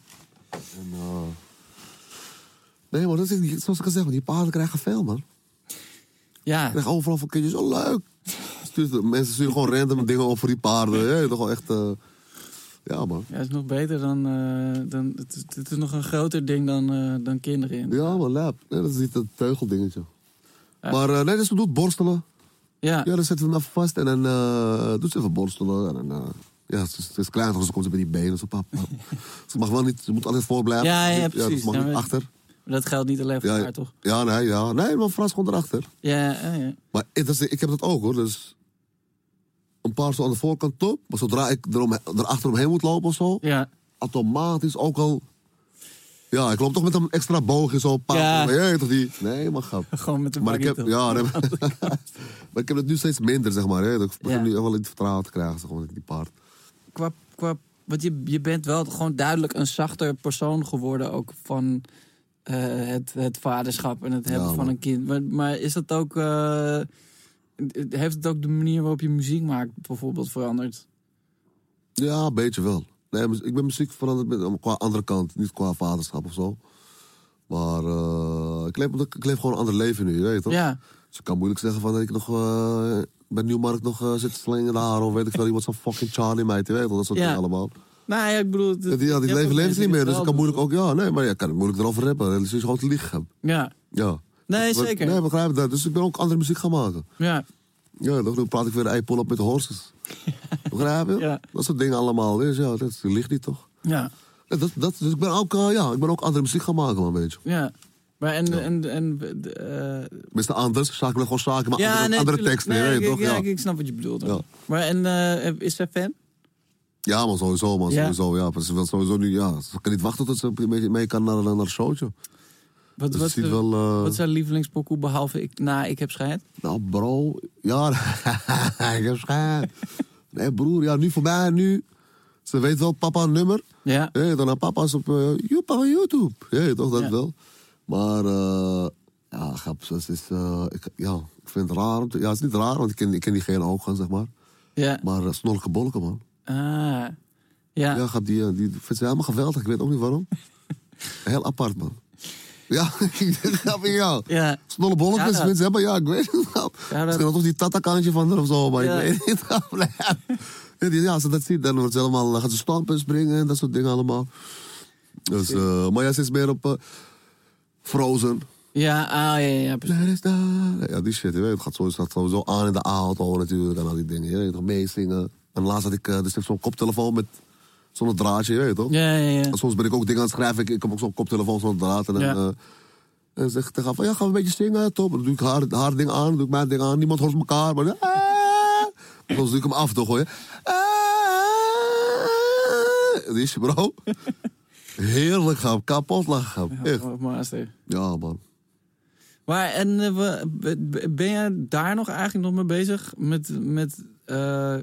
Speaker 3: En, eh, Nee, maar dat is, zoals ik al zeg, die paarden krijgen veel, man. Die
Speaker 2: Ja,
Speaker 3: krijgen overal van kindjes, oh leuk. Stuurt, mensen sturen gewoon random dingen op voor die paarden. Ja, je weet toch wel echt... eh, ja, man.
Speaker 2: Ja, is nog beter dan. eh, dan het, is- het is nog een groter ding dan, eh, dan kinderen in.
Speaker 3: Ja, maar lap. Nee, dat is niet dat teugeldingetje.
Speaker 2: Ja.
Speaker 3: Maar eh nee, dus doet borstelen.
Speaker 2: Ja,
Speaker 3: Ja, dan zetten we hem even vast en dan eh doet ze even borstelen. En dan, eh, ja, ze is, ze is klein, dus dan komt ze met die benen zo pap. pap. ze mag wel niet, ze moet altijd voor blijven.
Speaker 2: Ja, ja,
Speaker 3: Ja,
Speaker 2: precies.
Speaker 3: ze mag
Speaker 2: Ja,
Speaker 3: niet
Speaker 2: maar-
Speaker 3: achter.
Speaker 2: dat geldt niet alleen voor
Speaker 3: Ja,
Speaker 2: haar, toch?
Speaker 3: ja, nee, ja. Nee, maar Frans komt erachter.
Speaker 2: Ja, ja, ja.
Speaker 3: Maar ik, dat is- ik heb dat ook hoor. Dus een paar zo aan de voorkant top. Maar zodra ik erom, erachter omheen moet lopen of zo.
Speaker 2: ja.
Speaker 3: Automatisch ook al. Ja, ik loop toch met een extra boogje zo. Een paar
Speaker 2: Ja.
Speaker 3: keer, je weet toch die. Nee, maar grap.
Speaker 2: Gewoon met de
Speaker 3: Maar ik heb,
Speaker 2: baggy
Speaker 3: ja, nee, maar ik heb het nu steeds minder, zeg maar. Hè. Ik begin
Speaker 2: Ja.
Speaker 3: nu echt wel in het vertrouwen te krijgen, zeg maar, met die paard.
Speaker 2: top. Qua, qua, want je, je bent wel gewoon duidelijk een zachter persoon geworden ook van eh, het, het vaderschap en het hebben
Speaker 3: Ja,
Speaker 2: van
Speaker 3: man.
Speaker 2: een kind. Maar, maar is dat ook. eh, heeft het ook de manier waarop je muziek maakt bijvoorbeeld veranderd?
Speaker 3: Ja, een beetje wel. Nee, mu- ik ben muziek veranderd met, qua andere kant, niet qua vaderschap of zo. Maar eh, ik, leef, ik leef gewoon een ander leven nu, je weet toch?
Speaker 2: Ja.
Speaker 3: Dus ik kan moeilijk zeggen van dat ik nog eh, bij Nieuwmarkt nog eh, zit te slingen daar. Of weet ik wel, iemand zo'n fucking Charlie meid, je weet toch? Dat soort
Speaker 2: Ja.
Speaker 3: dingen allemaal.
Speaker 2: Nou ja, ik bedoel.
Speaker 3: Ja, die, ja, die
Speaker 2: je hebt
Speaker 3: leven
Speaker 2: ook
Speaker 3: leeft
Speaker 2: mensen
Speaker 3: niet
Speaker 2: die
Speaker 3: meer,
Speaker 2: het
Speaker 3: dus
Speaker 2: wel
Speaker 3: ik
Speaker 2: doen.
Speaker 3: kan moeilijk ook, ja, nee, maar ja, ik kan moeilijk erover rappen. Dat is gewoon het lichaam.
Speaker 2: Ja,
Speaker 3: Ja.
Speaker 2: nee,
Speaker 3: Maar-
Speaker 2: zeker.
Speaker 3: Nee, begrijp ik dat. Dus ik ben ook andere muziek gaan maken.
Speaker 2: Ja.
Speaker 3: Ja, toch? Dan praat ik weer ei pull op met de horses. Begrijp je?
Speaker 2: Ja.
Speaker 3: Dat soort dingen allemaal. Dus ja, dat ligt niet toch?
Speaker 2: ja.
Speaker 3: Ja, dat, dat, dus ik ben, ook, eh, ja, ik ben ook andere muziek gaan maken, man, weet je.
Speaker 2: Ja. Maar en, en, en eh,
Speaker 3: Tenminste, anders. Zaken ben gewoon zaken, maar andere, andere
Speaker 2: tuurlijk.
Speaker 3: teksten.
Speaker 2: Nee,
Speaker 3: Nee,
Speaker 2: ik,
Speaker 3: toch?
Speaker 2: ja,
Speaker 3: Ja,
Speaker 2: ik, ik snap wat je bedoelt. hoor.
Speaker 3: Ja.
Speaker 2: Maar en eh, is zij fan?
Speaker 3: ja man, sowieso, man.
Speaker 2: Ja.
Speaker 3: Sowieso, ja. Maar Ze wil sowieso nu, ja. Ze kan niet wachten tot ze een beetje mee kan naar, naar een showtje.
Speaker 2: Wat,
Speaker 3: Dus
Speaker 2: wat,
Speaker 3: het ziet
Speaker 2: eh,
Speaker 3: wel... eh,
Speaker 2: wat is haar lievelingspokoe behalve ik, na ik heb scheid?
Speaker 3: Nou, bro. Ja, ik heb schijn. Nee, broer. Ja, nu voor mij, nu... Ze weet wel papa een nummer.
Speaker 2: Ja.
Speaker 3: Hé, dan aan papa's op eh, Joepa van YouTube. Hé, toch dat
Speaker 2: Ja.
Speaker 3: wel. Maar eh, ja, grap, ze is, eh, ik, ja, ik vind het raar. om te- ja, het is niet raar, want ik ken, ik ken diegene ook gewoon, zeg maar.
Speaker 2: Ja.
Speaker 3: Maar uh, snorke bolken, man.
Speaker 2: Ah. Ja.
Speaker 3: Ja, grap, die, eh, die vindt ze helemaal geweldig. Ik weet ook niet waarom. Heel apart, man. Ja, ik grap, ja.
Speaker 2: Ja.
Speaker 3: Snolle bolletjes,
Speaker 2: Ja, dat-
Speaker 3: vindt ze helemaal, ja, ik weet het wel.
Speaker 2: Ja, dat-
Speaker 3: Misschien had toch die tatakantje van haar of zo, maar
Speaker 2: Ja.
Speaker 3: ik weet het wel. Ja, die- Ja, als ze dat ziet, dan wordt ze helemaal, dan gaat ze stampen, springen en dat soort dingen allemaal. Dus, eh, maar ja, ze is meer op eh, Frozen.
Speaker 2: Ja, ah, ja, ja, precies.
Speaker 3: Let it down. Ja, die shit, je weet, het gaat sowieso, gaat sowieso aan in de auto natuurlijk en al die dingen. Je weet toch, meezingen. En laatst had ik, eh, dus ik heb zo'n koptelefoon met zo'n draadje, je weet toch?
Speaker 2: Ja, ja, ja.
Speaker 3: En soms ben ik ook dingen aan het schrijven. Ik, ik heb ook zo'n koptelefoon, zo'n draad. En dan
Speaker 2: Ja.
Speaker 3: eh, en zeg ik tegen haar van, ja, gaan we een beetje zingen? Top. Dan doe ik haar, haar ding aan, doe ik mijn ding aan. Niemand hoort elkaar. Maar dan, eh. soms doe ik hem af toch, hoor. je. Eh. Die is je bro. Heerlijk, gaan Kapot lachen, gaan. Echt.
Speaker 2: Oh, Master.
Speaker 3: Ja, man.
Speaker 2: Maar en eh, we- be- ben jij daar nog eigenlijk nog mee bezig? Met, met eh,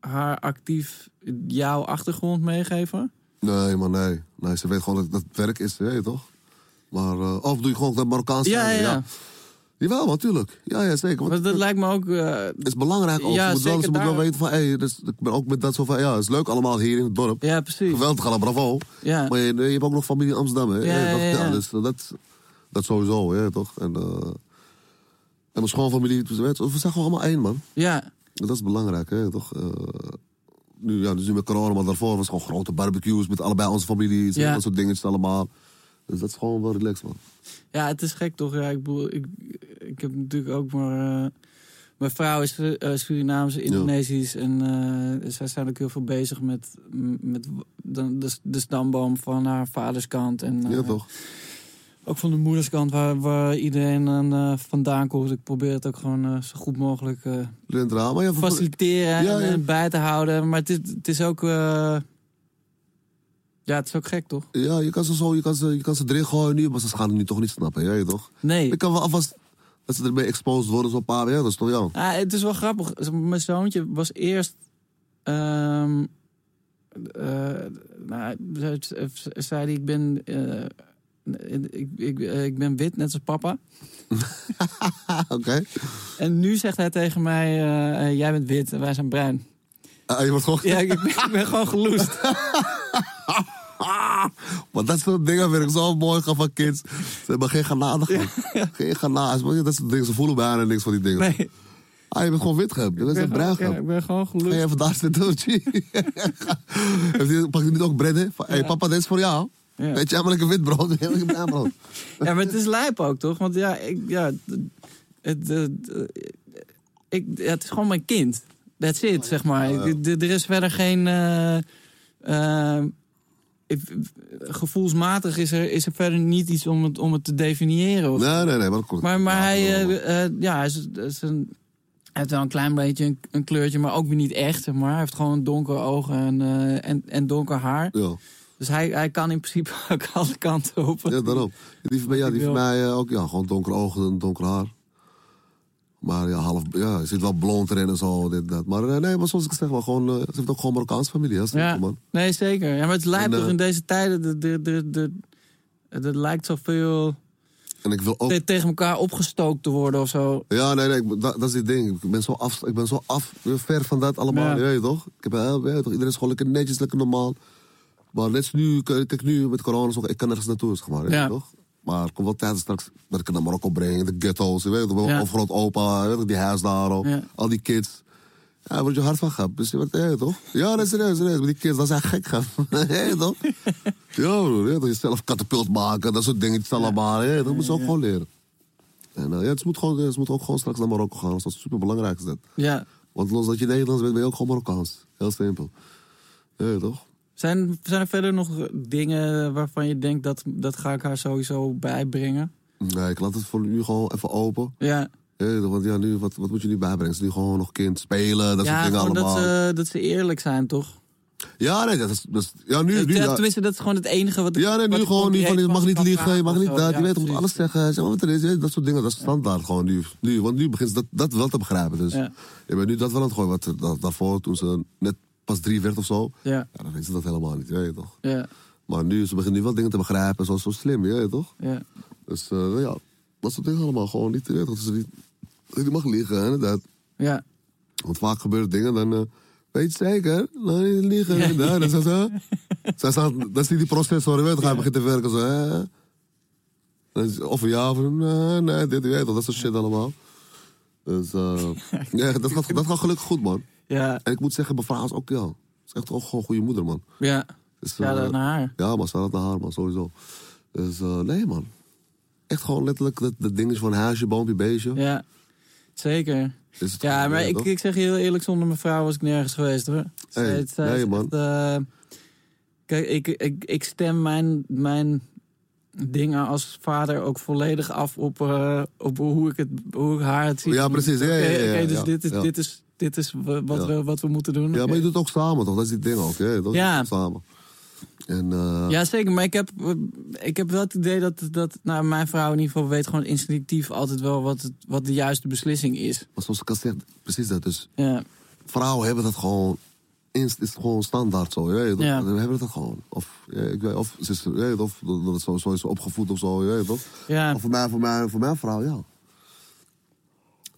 Speaker 2: haar actief jouw achtergrond meegeven?
Speaker 3: Nee, maar nee. nee. Ze weet gewoon dat dat het werk is, je weet toch? Maar, eh, of doe je gewoon dat Marokkaanse?
Speaker 2: Ja, ja, ja.
Speaker 3: ja. Jawel, natuurlijk. Ja, ja, zeker. Want
Speaker 2: Want dat lijkt me ook... eh,
Speaker 3: het is belangrijk ook.
Speaker 2: Ja,
Speaker 3: ze moet wel,
Speaker 2: zeker
Speaker 3: ze moet wel
Speaker 2: daar-
Speaker 3: weten van, hey, dus, ik ben ook met dat zo van, ja, het is leuk allemaal hier in het dorp.
Speaker 2: ja, precies.
Speaker 3: Geweldig, allemaal bravo.
Speaker 2: Ja.
Speaker 3: Maar je, je hebt ook nog familie in Amsterdam, hè?
Speaker 2: Ja,
Speaker 3: dat,
Speaker 2: ja, ja.
Speaker 3: dus eh, dat, dat sowieso, hè, toch? En, eh, en mijn schoonfamilie, dus, weet je, we zijn gewoon allemaal één, man.
Speaker 2: Ja,
Speaker 3: Dat is belangrijk, hè, toch? Eh, nu, ja, dus nu met corona, maar daarvoor was het gewoon grote barbecues met allebei onze families.
Speaker 2: Ja.
Speaker 3: En dat soort dingetjes allemaal. Dus dat is gewoon wel relaxed, man.
Speaker 2: ja, het is gek toch? Ja, ik, bedoel, ik, ik heb natuurlijk ook maar... eh, mijn vrouw is eh Surinaams, Indonesisch. En eh, zij zijn ook heel veel bezig met, met de, de, de stamboom van haar vaders kant. En, eh,
Speaker 3: Ja, toch?
Speaker 2: Ook van de moederskant, waar, waar iedereen aan, eh, vandaan komt. Ik probeer het ook gewoon eh, zo goed mogelijk eh,
Speaker 3: Lentraal. Maar ja, voor-
Speaker 2: faciliteren
Speaker 3: Ja,
Speaker 2: en,
Speaker 3: ja.
Speaker 2: en bij te houden. Maar het is, het is ook... eh, ja, het is ook gek, toch?
Speaker 3: ja, je kan ze zo, je kan ze, je kan ze erin gooien nu, maar ze gaan het nu toch niet snappen, ja, je toch?
Speaker 2: Nee.
Speaker 3: Ik kan wel alvast dat ze ermee exposed worden, zo'n paar jaar, dat is toch ja.
Speaker 2: Ah, het is wel grappig. Zeg maar, Mijn zoontje was eerst... ehm, eh, nou, hij zei- zei hij, ik ben... eh, ik, ik, eh, ik ben wit, net als papa.
Speaker 3: Oké.
Speaker 2: En nu zegt hij tegen mij, eh, eh, jij bent wit en wij zijn bruin.
Speaker 3: Ah, je wordt gewoon.
Speaker 2: Ja, ik ben, ik ben gewoon geloest.
Speaker 3: Ah, maar dat soort dingen vind ik zo mooi gaan van kids. Ze hebben geen genade. Geen genade. Maar ja, Dat soort dingen, ze voelen bijna niks van die dingen.
Speaker 2: Nee,
Speaker 3: Ah, je bent gewoon wit gehad. Je bent
Speaker 2: ik ben,
Speaker 3: een bruin
Speaker 2: gewoon,
Speaker 3: gehad.
Speaker 2: ja, ik ben gewoon
Speaker 3: Ga
Speaker 2: gelukkig.
Speaker 3: je even daar zitten? Heeft hij- Pak je niet ook bread, hè? Van, hey, papa, dit is voor jou.
Speaker 2: Ja.
Speaker 3: Weet je, jij maar lekker wit brood. Jij maar lekker bruin brood.
Speaker 2: Ja, maar het is lijp ook, toch? Want ja, ik, ja, het, het, eh, ik, ja, het is gewoon mijn kind. That's it, zeg maar.
Speaker 3: Ja, ja.
Speaker 2: Ik- d- Er is verder geen... eh, eh, ik- gevoelsmatig is er, is er verder niet iets om het, om het te definiëren. of-
Speaker 3: Nee, nee, nee, maar dat komt.
Speaker 2: Maar, maar hij,
Speaker 3: Ja,
Speaker 2: eh, eh, ja, hij, is, is een, hij heeft wel een klein beetje een, een kleurtje, maar ook weer niet echt. zeg Maar hij heeft gewoon donkere ogen en, eh, en, en donker haar.
Speaker 3: ja,
Speaker 2: Dus hij, hij kan in principe ook alle kanten op.
Speaker 3: ja, daarom. Die van mij, ja, die van mij eh, ook, ja, gewoon donkere ogen en donker haar. Maar ja, half, ja, er zit wel blond erin en zo, dit, dat. Maar eh, nee, maar zoals ik zeg, wel, gewoon, eh, ze heeft ook gewoon Marokkaanse familie, hè,
Speaker 2: Ja,
Speaker 3: ja. man.
Speaker 2: nee, zeker. Ja, maar het lijkt
Speaker 3: En,
Speaker 2: toch
Speaker 3: eh,
Speaker 2: in deze tijden... Er de, de, de, er lijkt zoveel
Speaker 3: En ik wil ook...
Speaker 2: te- tegen elkaar opgestookt te worden of zo.
Speaker 3: Ja, nee, nee, ik- dat, dat is het ding. Ik ben zo af, ik ben zo af ver van dat allemaal.
Speaker 2: Ja.
Speaker 3: Ja. je toch? Ik heb, eh, ja, toch? Iedereen is gewoon lekker netjes, lekker normaal. Maar net als nu, k- kijk nu met corona, is ook- ik kan nergens naartoe, zeg maar. Ja.
Speaker 2: Ja.
Speaker 3: toch? Maar er komt wel tijd straks dat ik het naar Marokko breng, de ghetto's, je weet toch?
Speaker 2: Ja.
Speaker 3: Of groot opa, weet toch, die huis daar, al,
Speaker 2: Ja.
Speaker 3: al die kids. Ja, daar word je hard van gehad. Dus je wordt, ja, toch? Ja, nee, serieus, serieus. Maar die kids, dat zijn gek, gehad. Ja, toch? Ja, broer, eh, ja, toch? Jezelf katapult maken, dat soort dingetjes allemaal. Ja, dat moet ze ook gewoon leren. En eh, ja, het moet, gewoon, het moet ook gewoon straks naar Marokko gaan. Dus Dat is superbelangrijk. Is dat.
Speaker 2: Ja.
Speaker 3: Want los dat je Nederlands bent, ben je ook gewoon Marokkaans. Heel simpel. Ja, toch?
Speaker 2: Zijn, zijn er verder nog dingen waarvan je denkt... dat, dat ga ik haar sowieso bijbrengen?
Speaker 3: Nee, ik laat het voor nu gewoon even open.
Speaker 2: Ja,
Speaker 3: Ja, want ja, nu, wat, wat moet je nu bijbrengen? Ze nu gewoon nog kind spelen, dat
Speaker 2: ja
Speaker 3: soort dingen
Speaker 2: gewoon dat
Speaker 3: allemaal.
Speaker 2: ze, dat ze eerlijk zijn, toch?
Speaker 3: Ja, nee, dat is... Dat is ja, nu... nu
Speaker 2: Ja,
Speaker 3: ja.
Speaker 2: Tenminste, dat is gewoon het enige wat... ik-
Speaker 3: Ja, nee,
Speaker 2: wat
Speaker 3: nu
Speaker 2: ik
Speaker 3: gewoon. Nu
Speaker 2: concreet
Speaker 3: van, je
Speaker 2: van
Speaker 3: mag
Speaker 2: ze
Speaker 3: niet
Speaker 2: kan
Speaker 3: liegen, je
Speaker 2: vragen
Speaker 3: mag
Speaker 2: of
Speaker 3: niet
Speaker 2: zo.
Speaker 3: dat.
Speaker 2: Ja,
Speaker 3: je weet, je moet
Speaker 2: precies.
Speaker 3: alles zeggen. Zeg maar wat er is, je weet, dat soort dingen. Dat is standaard gewoon nu. nu want nu begint ze dat, dat wel te begrijpen. Dus
Speaker 2: Ja.
Speaker 3: je bent nu dat wel aan het gooien. Wat, er- dat, daarvoor, toen ze net pas drie werd of zo.
Speaker 2: Ja,
Speaker 3: Ja, dan weten ze dat helemaal niet, weet je toch?
Speaker 2: ja,
Speaker 3: Maar nu, ze beginnen nu wel dingen te begrijpen, zoals zo slim, je weet toch?
Speaker 2: ja.
Speaker 3: Dus eh, nou ja, dat soort dingen allemaal gewoon niet, je weet toch? Dat ze niet, dat je mag liegen, hè, inderdaad.
Speaker 2: Ja,
Speaker 3: Want vaak gebeuren dingen, dan eh, weet je zeker, nou niet liegen, inderdaad. Dan zijn ze, ze staan, dan zie je die processor, je weet toch, hij begint te werken, zo, hè? Dan is- Of ja, of nee, nee, dit, je weet toch, dat soort shit allemaal. Dus eh, ja, dat, gaat, dat gaat gelukkig goed, man.
Speaker 2: ja,
Speaker 3: En ik moet zeggen, mijn vrouw is ook, ja, is echt ook gewoon een goede moeder, man.
Speaker 2: ja.
Speaker 3: Dus,
Speaker 2: Ja,
Speaker 3: eh,
Speaker 2: dat naar haar.
Speaker 3: ja, maar staat naar haar, man, sowieso. Dus eh, nee, man. Echt gewoon letterlijk dat, dat ding is van huisje, boompje, beestje.
Speaker 2: Ja, zeker.
Speaker 3: Is het
Speaker 2: Ja,
Speaker 3: gewoon,
Speaker 2: maar ik,
Speaker 3: toch?
Speaker 2: ik zeg je heel eerlijk, zonder mijn vrouw was ik nergens geweest hoor. Zij-
Speaker 3: Hey,
Speaker 2: zij
Speaker 3: nee,
Speaker 2: is
Speaker 3: man.
Speaker 2: echt, eh, kijk, ik, ik, ik stem mijn, mijn dingen als vader ook volledig af op, eh, op hoe, ik het, hoe ik haar het zie.
Speaker 3: Ja, precies. Ja, ja,
Speaker 2: Oké,
Speaker 3: ja, ja,
Speaker 2: oké, dus
Speaker 3: ja,
Speaker 2: dit is,
Speaker 3: ja.
Speaker 2: dit is, dit is wa- wat,
Speaker 3: Ja.
Speaker 2: we, wat we moeten doen.
Speaker 3: Ja, maar je doet het ook samen, toch? Dat is die ding ook, hè? Dat
Speaker 2: Ja.
Speaker 3: ja. Samen. En, eh,
Speaker 2: Ja, zeker. Maar ik heb, eh, ik heb wel het idee dat, dat nou, mijn vrouw in ieder geval weet gewoon instinctief altijd wel wat, het, wat de juiste beslissing is.
Speaker 3: maar zoals ik al zeg, precies dat. Dus
Speaker 2: Ja,
Speaker 3: vrouwen hebben dat gewoon... Inst is gewoon standaard zo, je weet toch?
Speaker 2: Ja.
Speaker 3: We hebben dat gewoon. Of, ja, ik weet, of, ze is, je weet, of dat dat is zo, zo is ze opgevoed of zo, je weet toch?
Speaker 2: ja.
Speaker 3: Of voor mij, voor mij, voor mijn vrouw, ja.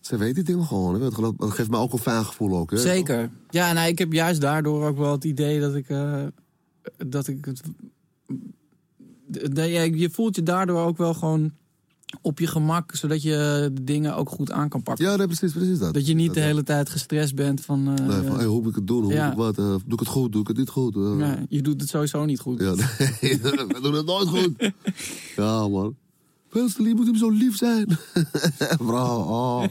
Speaker 3: Ze weet die dingen gewoon. hè. Dat geloof- Dat geeft me ook een fijn gevoel ook. Hè?
Speaker 2: Zeker. Ja, nou, ik heb juist daardoor ook wel het idee dat ik. eh, dat ik het. dat je- je voelt je daardoor ook wel gewoon op je gemak, zodat je de dingen ook goed aan kan pakken.
Speaker 3: Ja, nee, precies, precies dat.
Speaker 2: Dat je niet de
Speaker 3: Dat-
Speaker 2: hele tijd gestrest bent van. eh,
Speaker 3: Nee, van, hey, hoe moet ik het doen? Hoe
Speaker 2: Ja.
Speaker 3: moet ik wat? eh, doe ik het goed? Doe ik het niet goed? Eh,
Speaker 2: ja, je doet het sowieso niet goed.
Speaker 3: Ja, nee, we doen het nooit goed. Ja, man. Pelstelie moet hem zo lief zijn. Vrouw, oh.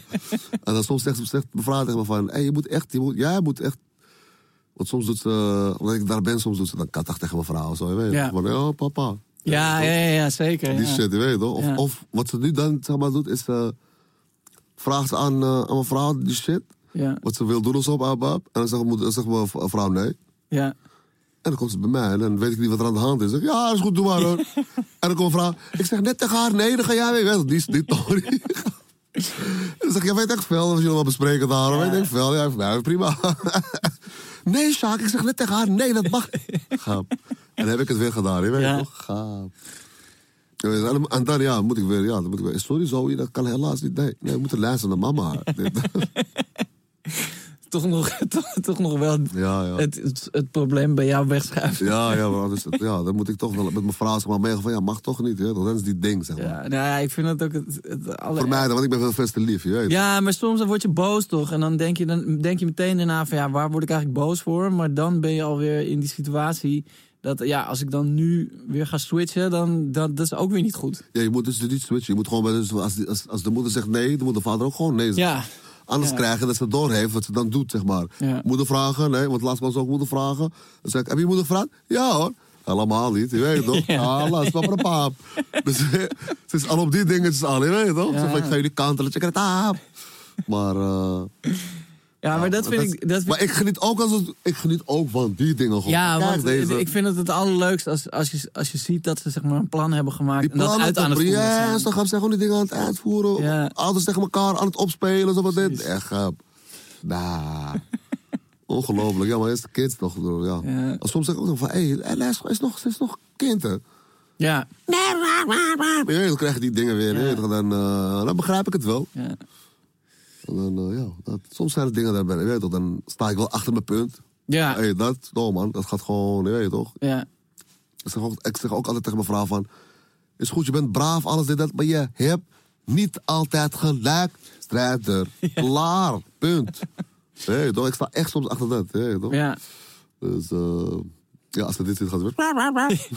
Speaker 3: En dan soms zegt ze zegt mijn vrouw tegen me van... Hey, je moet echt, je moet, jij moet echt... Want soms doet ze... eh, Omdat ik daar ben, soms doet ze dan kattig tegen mijn vrouw. Zo, je weet.
Speaker 2: Ja.
Speaker 3: Van, oh, papa.
Speaker 2: Ja, ja, ja, ja, zeker.
Speaker 3: Die
Speaker 2: ja.
Speaker 3: shit, je weet toch? Of,
Speaker 2: Ja.
Speaker 3: of wat ze nu dan zeg maar, doet, is... eh, vraagt ze aan, eh, aan mijn vrouw die shit.
Speaker 2: Ja,
Speaker 3: Wat ze wil doen of zo, bab, bab. En dan zegt, moeder- zegt mijn v- vrouw nee.
Speaker 2: ja.
Speaker 3: En dan komt ze bij mij en dan weet ik niet wat er aan de hand is. Ik Zeg, ja, is goed, doe maar hoor. en dan komt een vrouw. Ik zeg net tegen haar, nee, dan ga jij weg. Weet je, Die is dit Tony. en dan zeg ik, jij weet echt veel. Als jullie wel bespreken daar, dan weet ik veel. Ja, ik zeg, nou, prima. nee, Sjaak, ik zeg net tegen haar, nee, dat mag. niet. Gaap. En dan heb ik het weer gedaan, je weet
Speaker 2: Ja.
Speaker 3: toch? Gaap. Je weet, En en dan ja, moet ik weer, ja, dan moet ik weer. Sorry, Zoe, dat kan helaas niet. Nee, nee we moeten luisteren naar mama.
Speaker 2: Toch, nog, toch, toch nog wel
Speaker 3: ja, ja.
Speaker 2: het, het, het probleem bij jou wegschuiven.
Speaker 3: Ja, ja, maar anders, ja, dan moet ik toch wel met mijn vrouw zeg maar meegaan van ja, mag toch niet, hè? dat is die ding, zeg maar.
Speaker 2: Ja, nou ja, ik vind dat ook het, het aller-
Speaker 3: Vermijden, want ik ben veel te lief, je weet.
Speaker 2: Ja, maar soms dan word je boos toch? En dan denk je, dan denk je meteen daarna van ja, waar word ik eigenlijk boos voor? Maar dan ben je alweer in die situatie dat ja, als ik dan nu weer ga switchen, dan dat, dat is ook weer niet goed.
Speaker 3: Ja, je moet dus niet switchen. Je moet gewoon, wel eens- als, die- als, als de moeder zegt nee, dan moet de vader ook gewoon nee zeggen.
Speaker 2: Ja,
Speaker 3: Anders
Speaker 2: Ja.
Speaker 3: krijgen dat ze doorheeft wat ze dan doet, zeg maar.
Speaker 2: Ja.
Speaker 3: Moeder vragen, nee, want laatst was ook moeder vragen. Dan zeg ik, heb je moeder gevraagd? Ja hoor. Helemaal niet, je weet toch? Ja, laat maar een paap. Dus het is al op die dingetjes al, je weet toch?
Speaker 2: Ja.
Speaker 3: Zo van, ik ga jullie kantelen, check het aan. Maar, eh,
Speaker 2: ja maar dat vind
Speaker 3: is-
Speaker 2: ik. Dat vind
Speaker 3: maar ik geniet ook als het- ik geniet ook van die dingen gewoon.
Speaker 2: ja,
Speaker 3: Kijk,
Speaker 2: want
Speaker 3: deze-
Speaker 2: ik vind het het allerleukste als, als, je, als je ziet dat ze zeg maar een plan hebben gemaakt en dat
Speaker 3: plannen
Speaker 2: uit
Speaker 3: te
Speaker 2: aan het voeren
Speaker 3: brengen.
Speaker 2: zijn.
Speaker 3: Ja, ze gaan ze gewoon die dingen aan het uitvoeren.
Speaker 2: Ja.
Speaker 3: Ouders tegen elkaar aan het opspelen. Zo wat dit. Echt, eh, nah. Ongelooflijk. Ja, maar eerst de kids nog. broer, Ja.
Speaker 2: Ja.
Speaker 3: Soms zeg ik ook nog van, hé, hey, luister, is nog, is nog kind, hè?
Speaker 2: Ja,
Speaker 3: Nee, maar, maar, maar. Je weet, dan krijg je die dingen weer. je weet, en Dan, eh, dan begrijp ik het wel.
Speaker 2: ja.
Speaker 3: En dan, eh, ja, dat, soms zijn er dingen daarbij. Je weet toch, dan sta ik wel achter mijn punt.
Speaker 2: Ja,
Speaker 3: hey, dat, oh man, dat gaat gewoon, je weet toch.
Speaker 2: ja.
Speaker 3: Ik zeg, ook, ik zeg ook altijd tegen mijn vrouw van... Is goed, je bent braaf, alles dit, dat. Maar je hebt niet altijd gelijk. Strijder. Klaar. Punt. Hey, toch? Ik sta echt soms achter dat. Hey, toch?
Speaker 2: ja.
Speaker 3: Dus eh, ja, als ze dit zit, gaat het weer...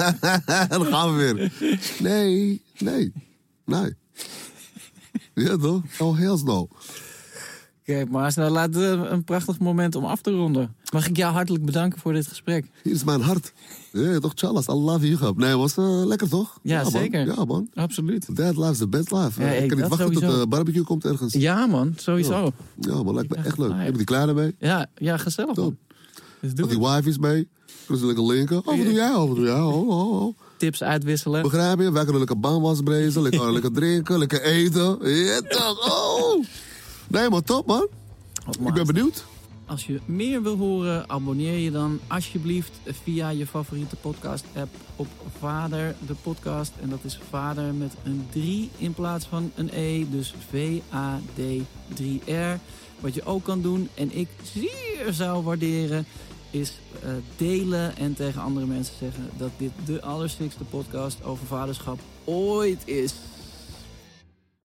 Speaker 3: dan gaan we weer. Nee, nee, nee. Ja, toch? Oh, heel snel.
Speaker 2: Oké, maar snel, laat eh, een prachtig moment om af te ronden. Mag ik jou hartelijk bedanken voor dit gesprek?
Speaker 3: Hier is mijn hart. Ja, toch, Charles, I love you. grap. Nee, was eh, lekker, toch?
Speaker 2: Ja,
Speaker 3: man.
Speaker 2: zeker.
Speaker 3: Ja, man.
Speaker 2: Absoluut.
Speaker 3: That life is the best life.
Speaker 2: Ja,
Speaker 3: Eh,
Speaker 2: hey,
Speaker 3: ik kan
Speaker 2: dat
Speaker 3: niet wachten tot
Speaker 2: sowieso.
Speaker 3: de barbecue komt ergens. Ja,
Speaker 2: Ja, man, sowieso.
Speaker 3: man, lijkt me
Speaker 2: Ja,
Speaker 3: echt leuk.
Speaker 2: ah, ja.
Speaker 3: Heb ik die kleine mee?
Speaker 2: Ja, ja gezellig.
Speaker 3: Top.
Speaker 2: man. Dus
Speaker 3: Heb
Speaker 2: doe
Speaker 3: die
Speaker 2: het.
Speaker 3: wife is mee? Kunnen ze lekker linken? Oh, wat doe jij? Oh, wat doe jij? Oh, oh, oh.
Speaker 2: tips uitwisselen.
Speaker 3: Begrijp je? Wij kunnen lekker baanwas brezen, lekker, lekker drinken, lekker eten. Ja, toch? Oh. Nee, maar top, man. Ik ben benieuwd.
Speaker 2: Als je meer wil horen, abonneer je dan alsjeblieft via je favoriete podcast-app op Vader de Podcast. En dat is Vader met een 3 in plaats van een E, dus V-A-D-3-R. Wat je ook kan doen, en ik zeer zou waarderen, is eh, delen en tegen andere mensen zeggen dat dit de allerstikste podcast over vaderschap ooit is.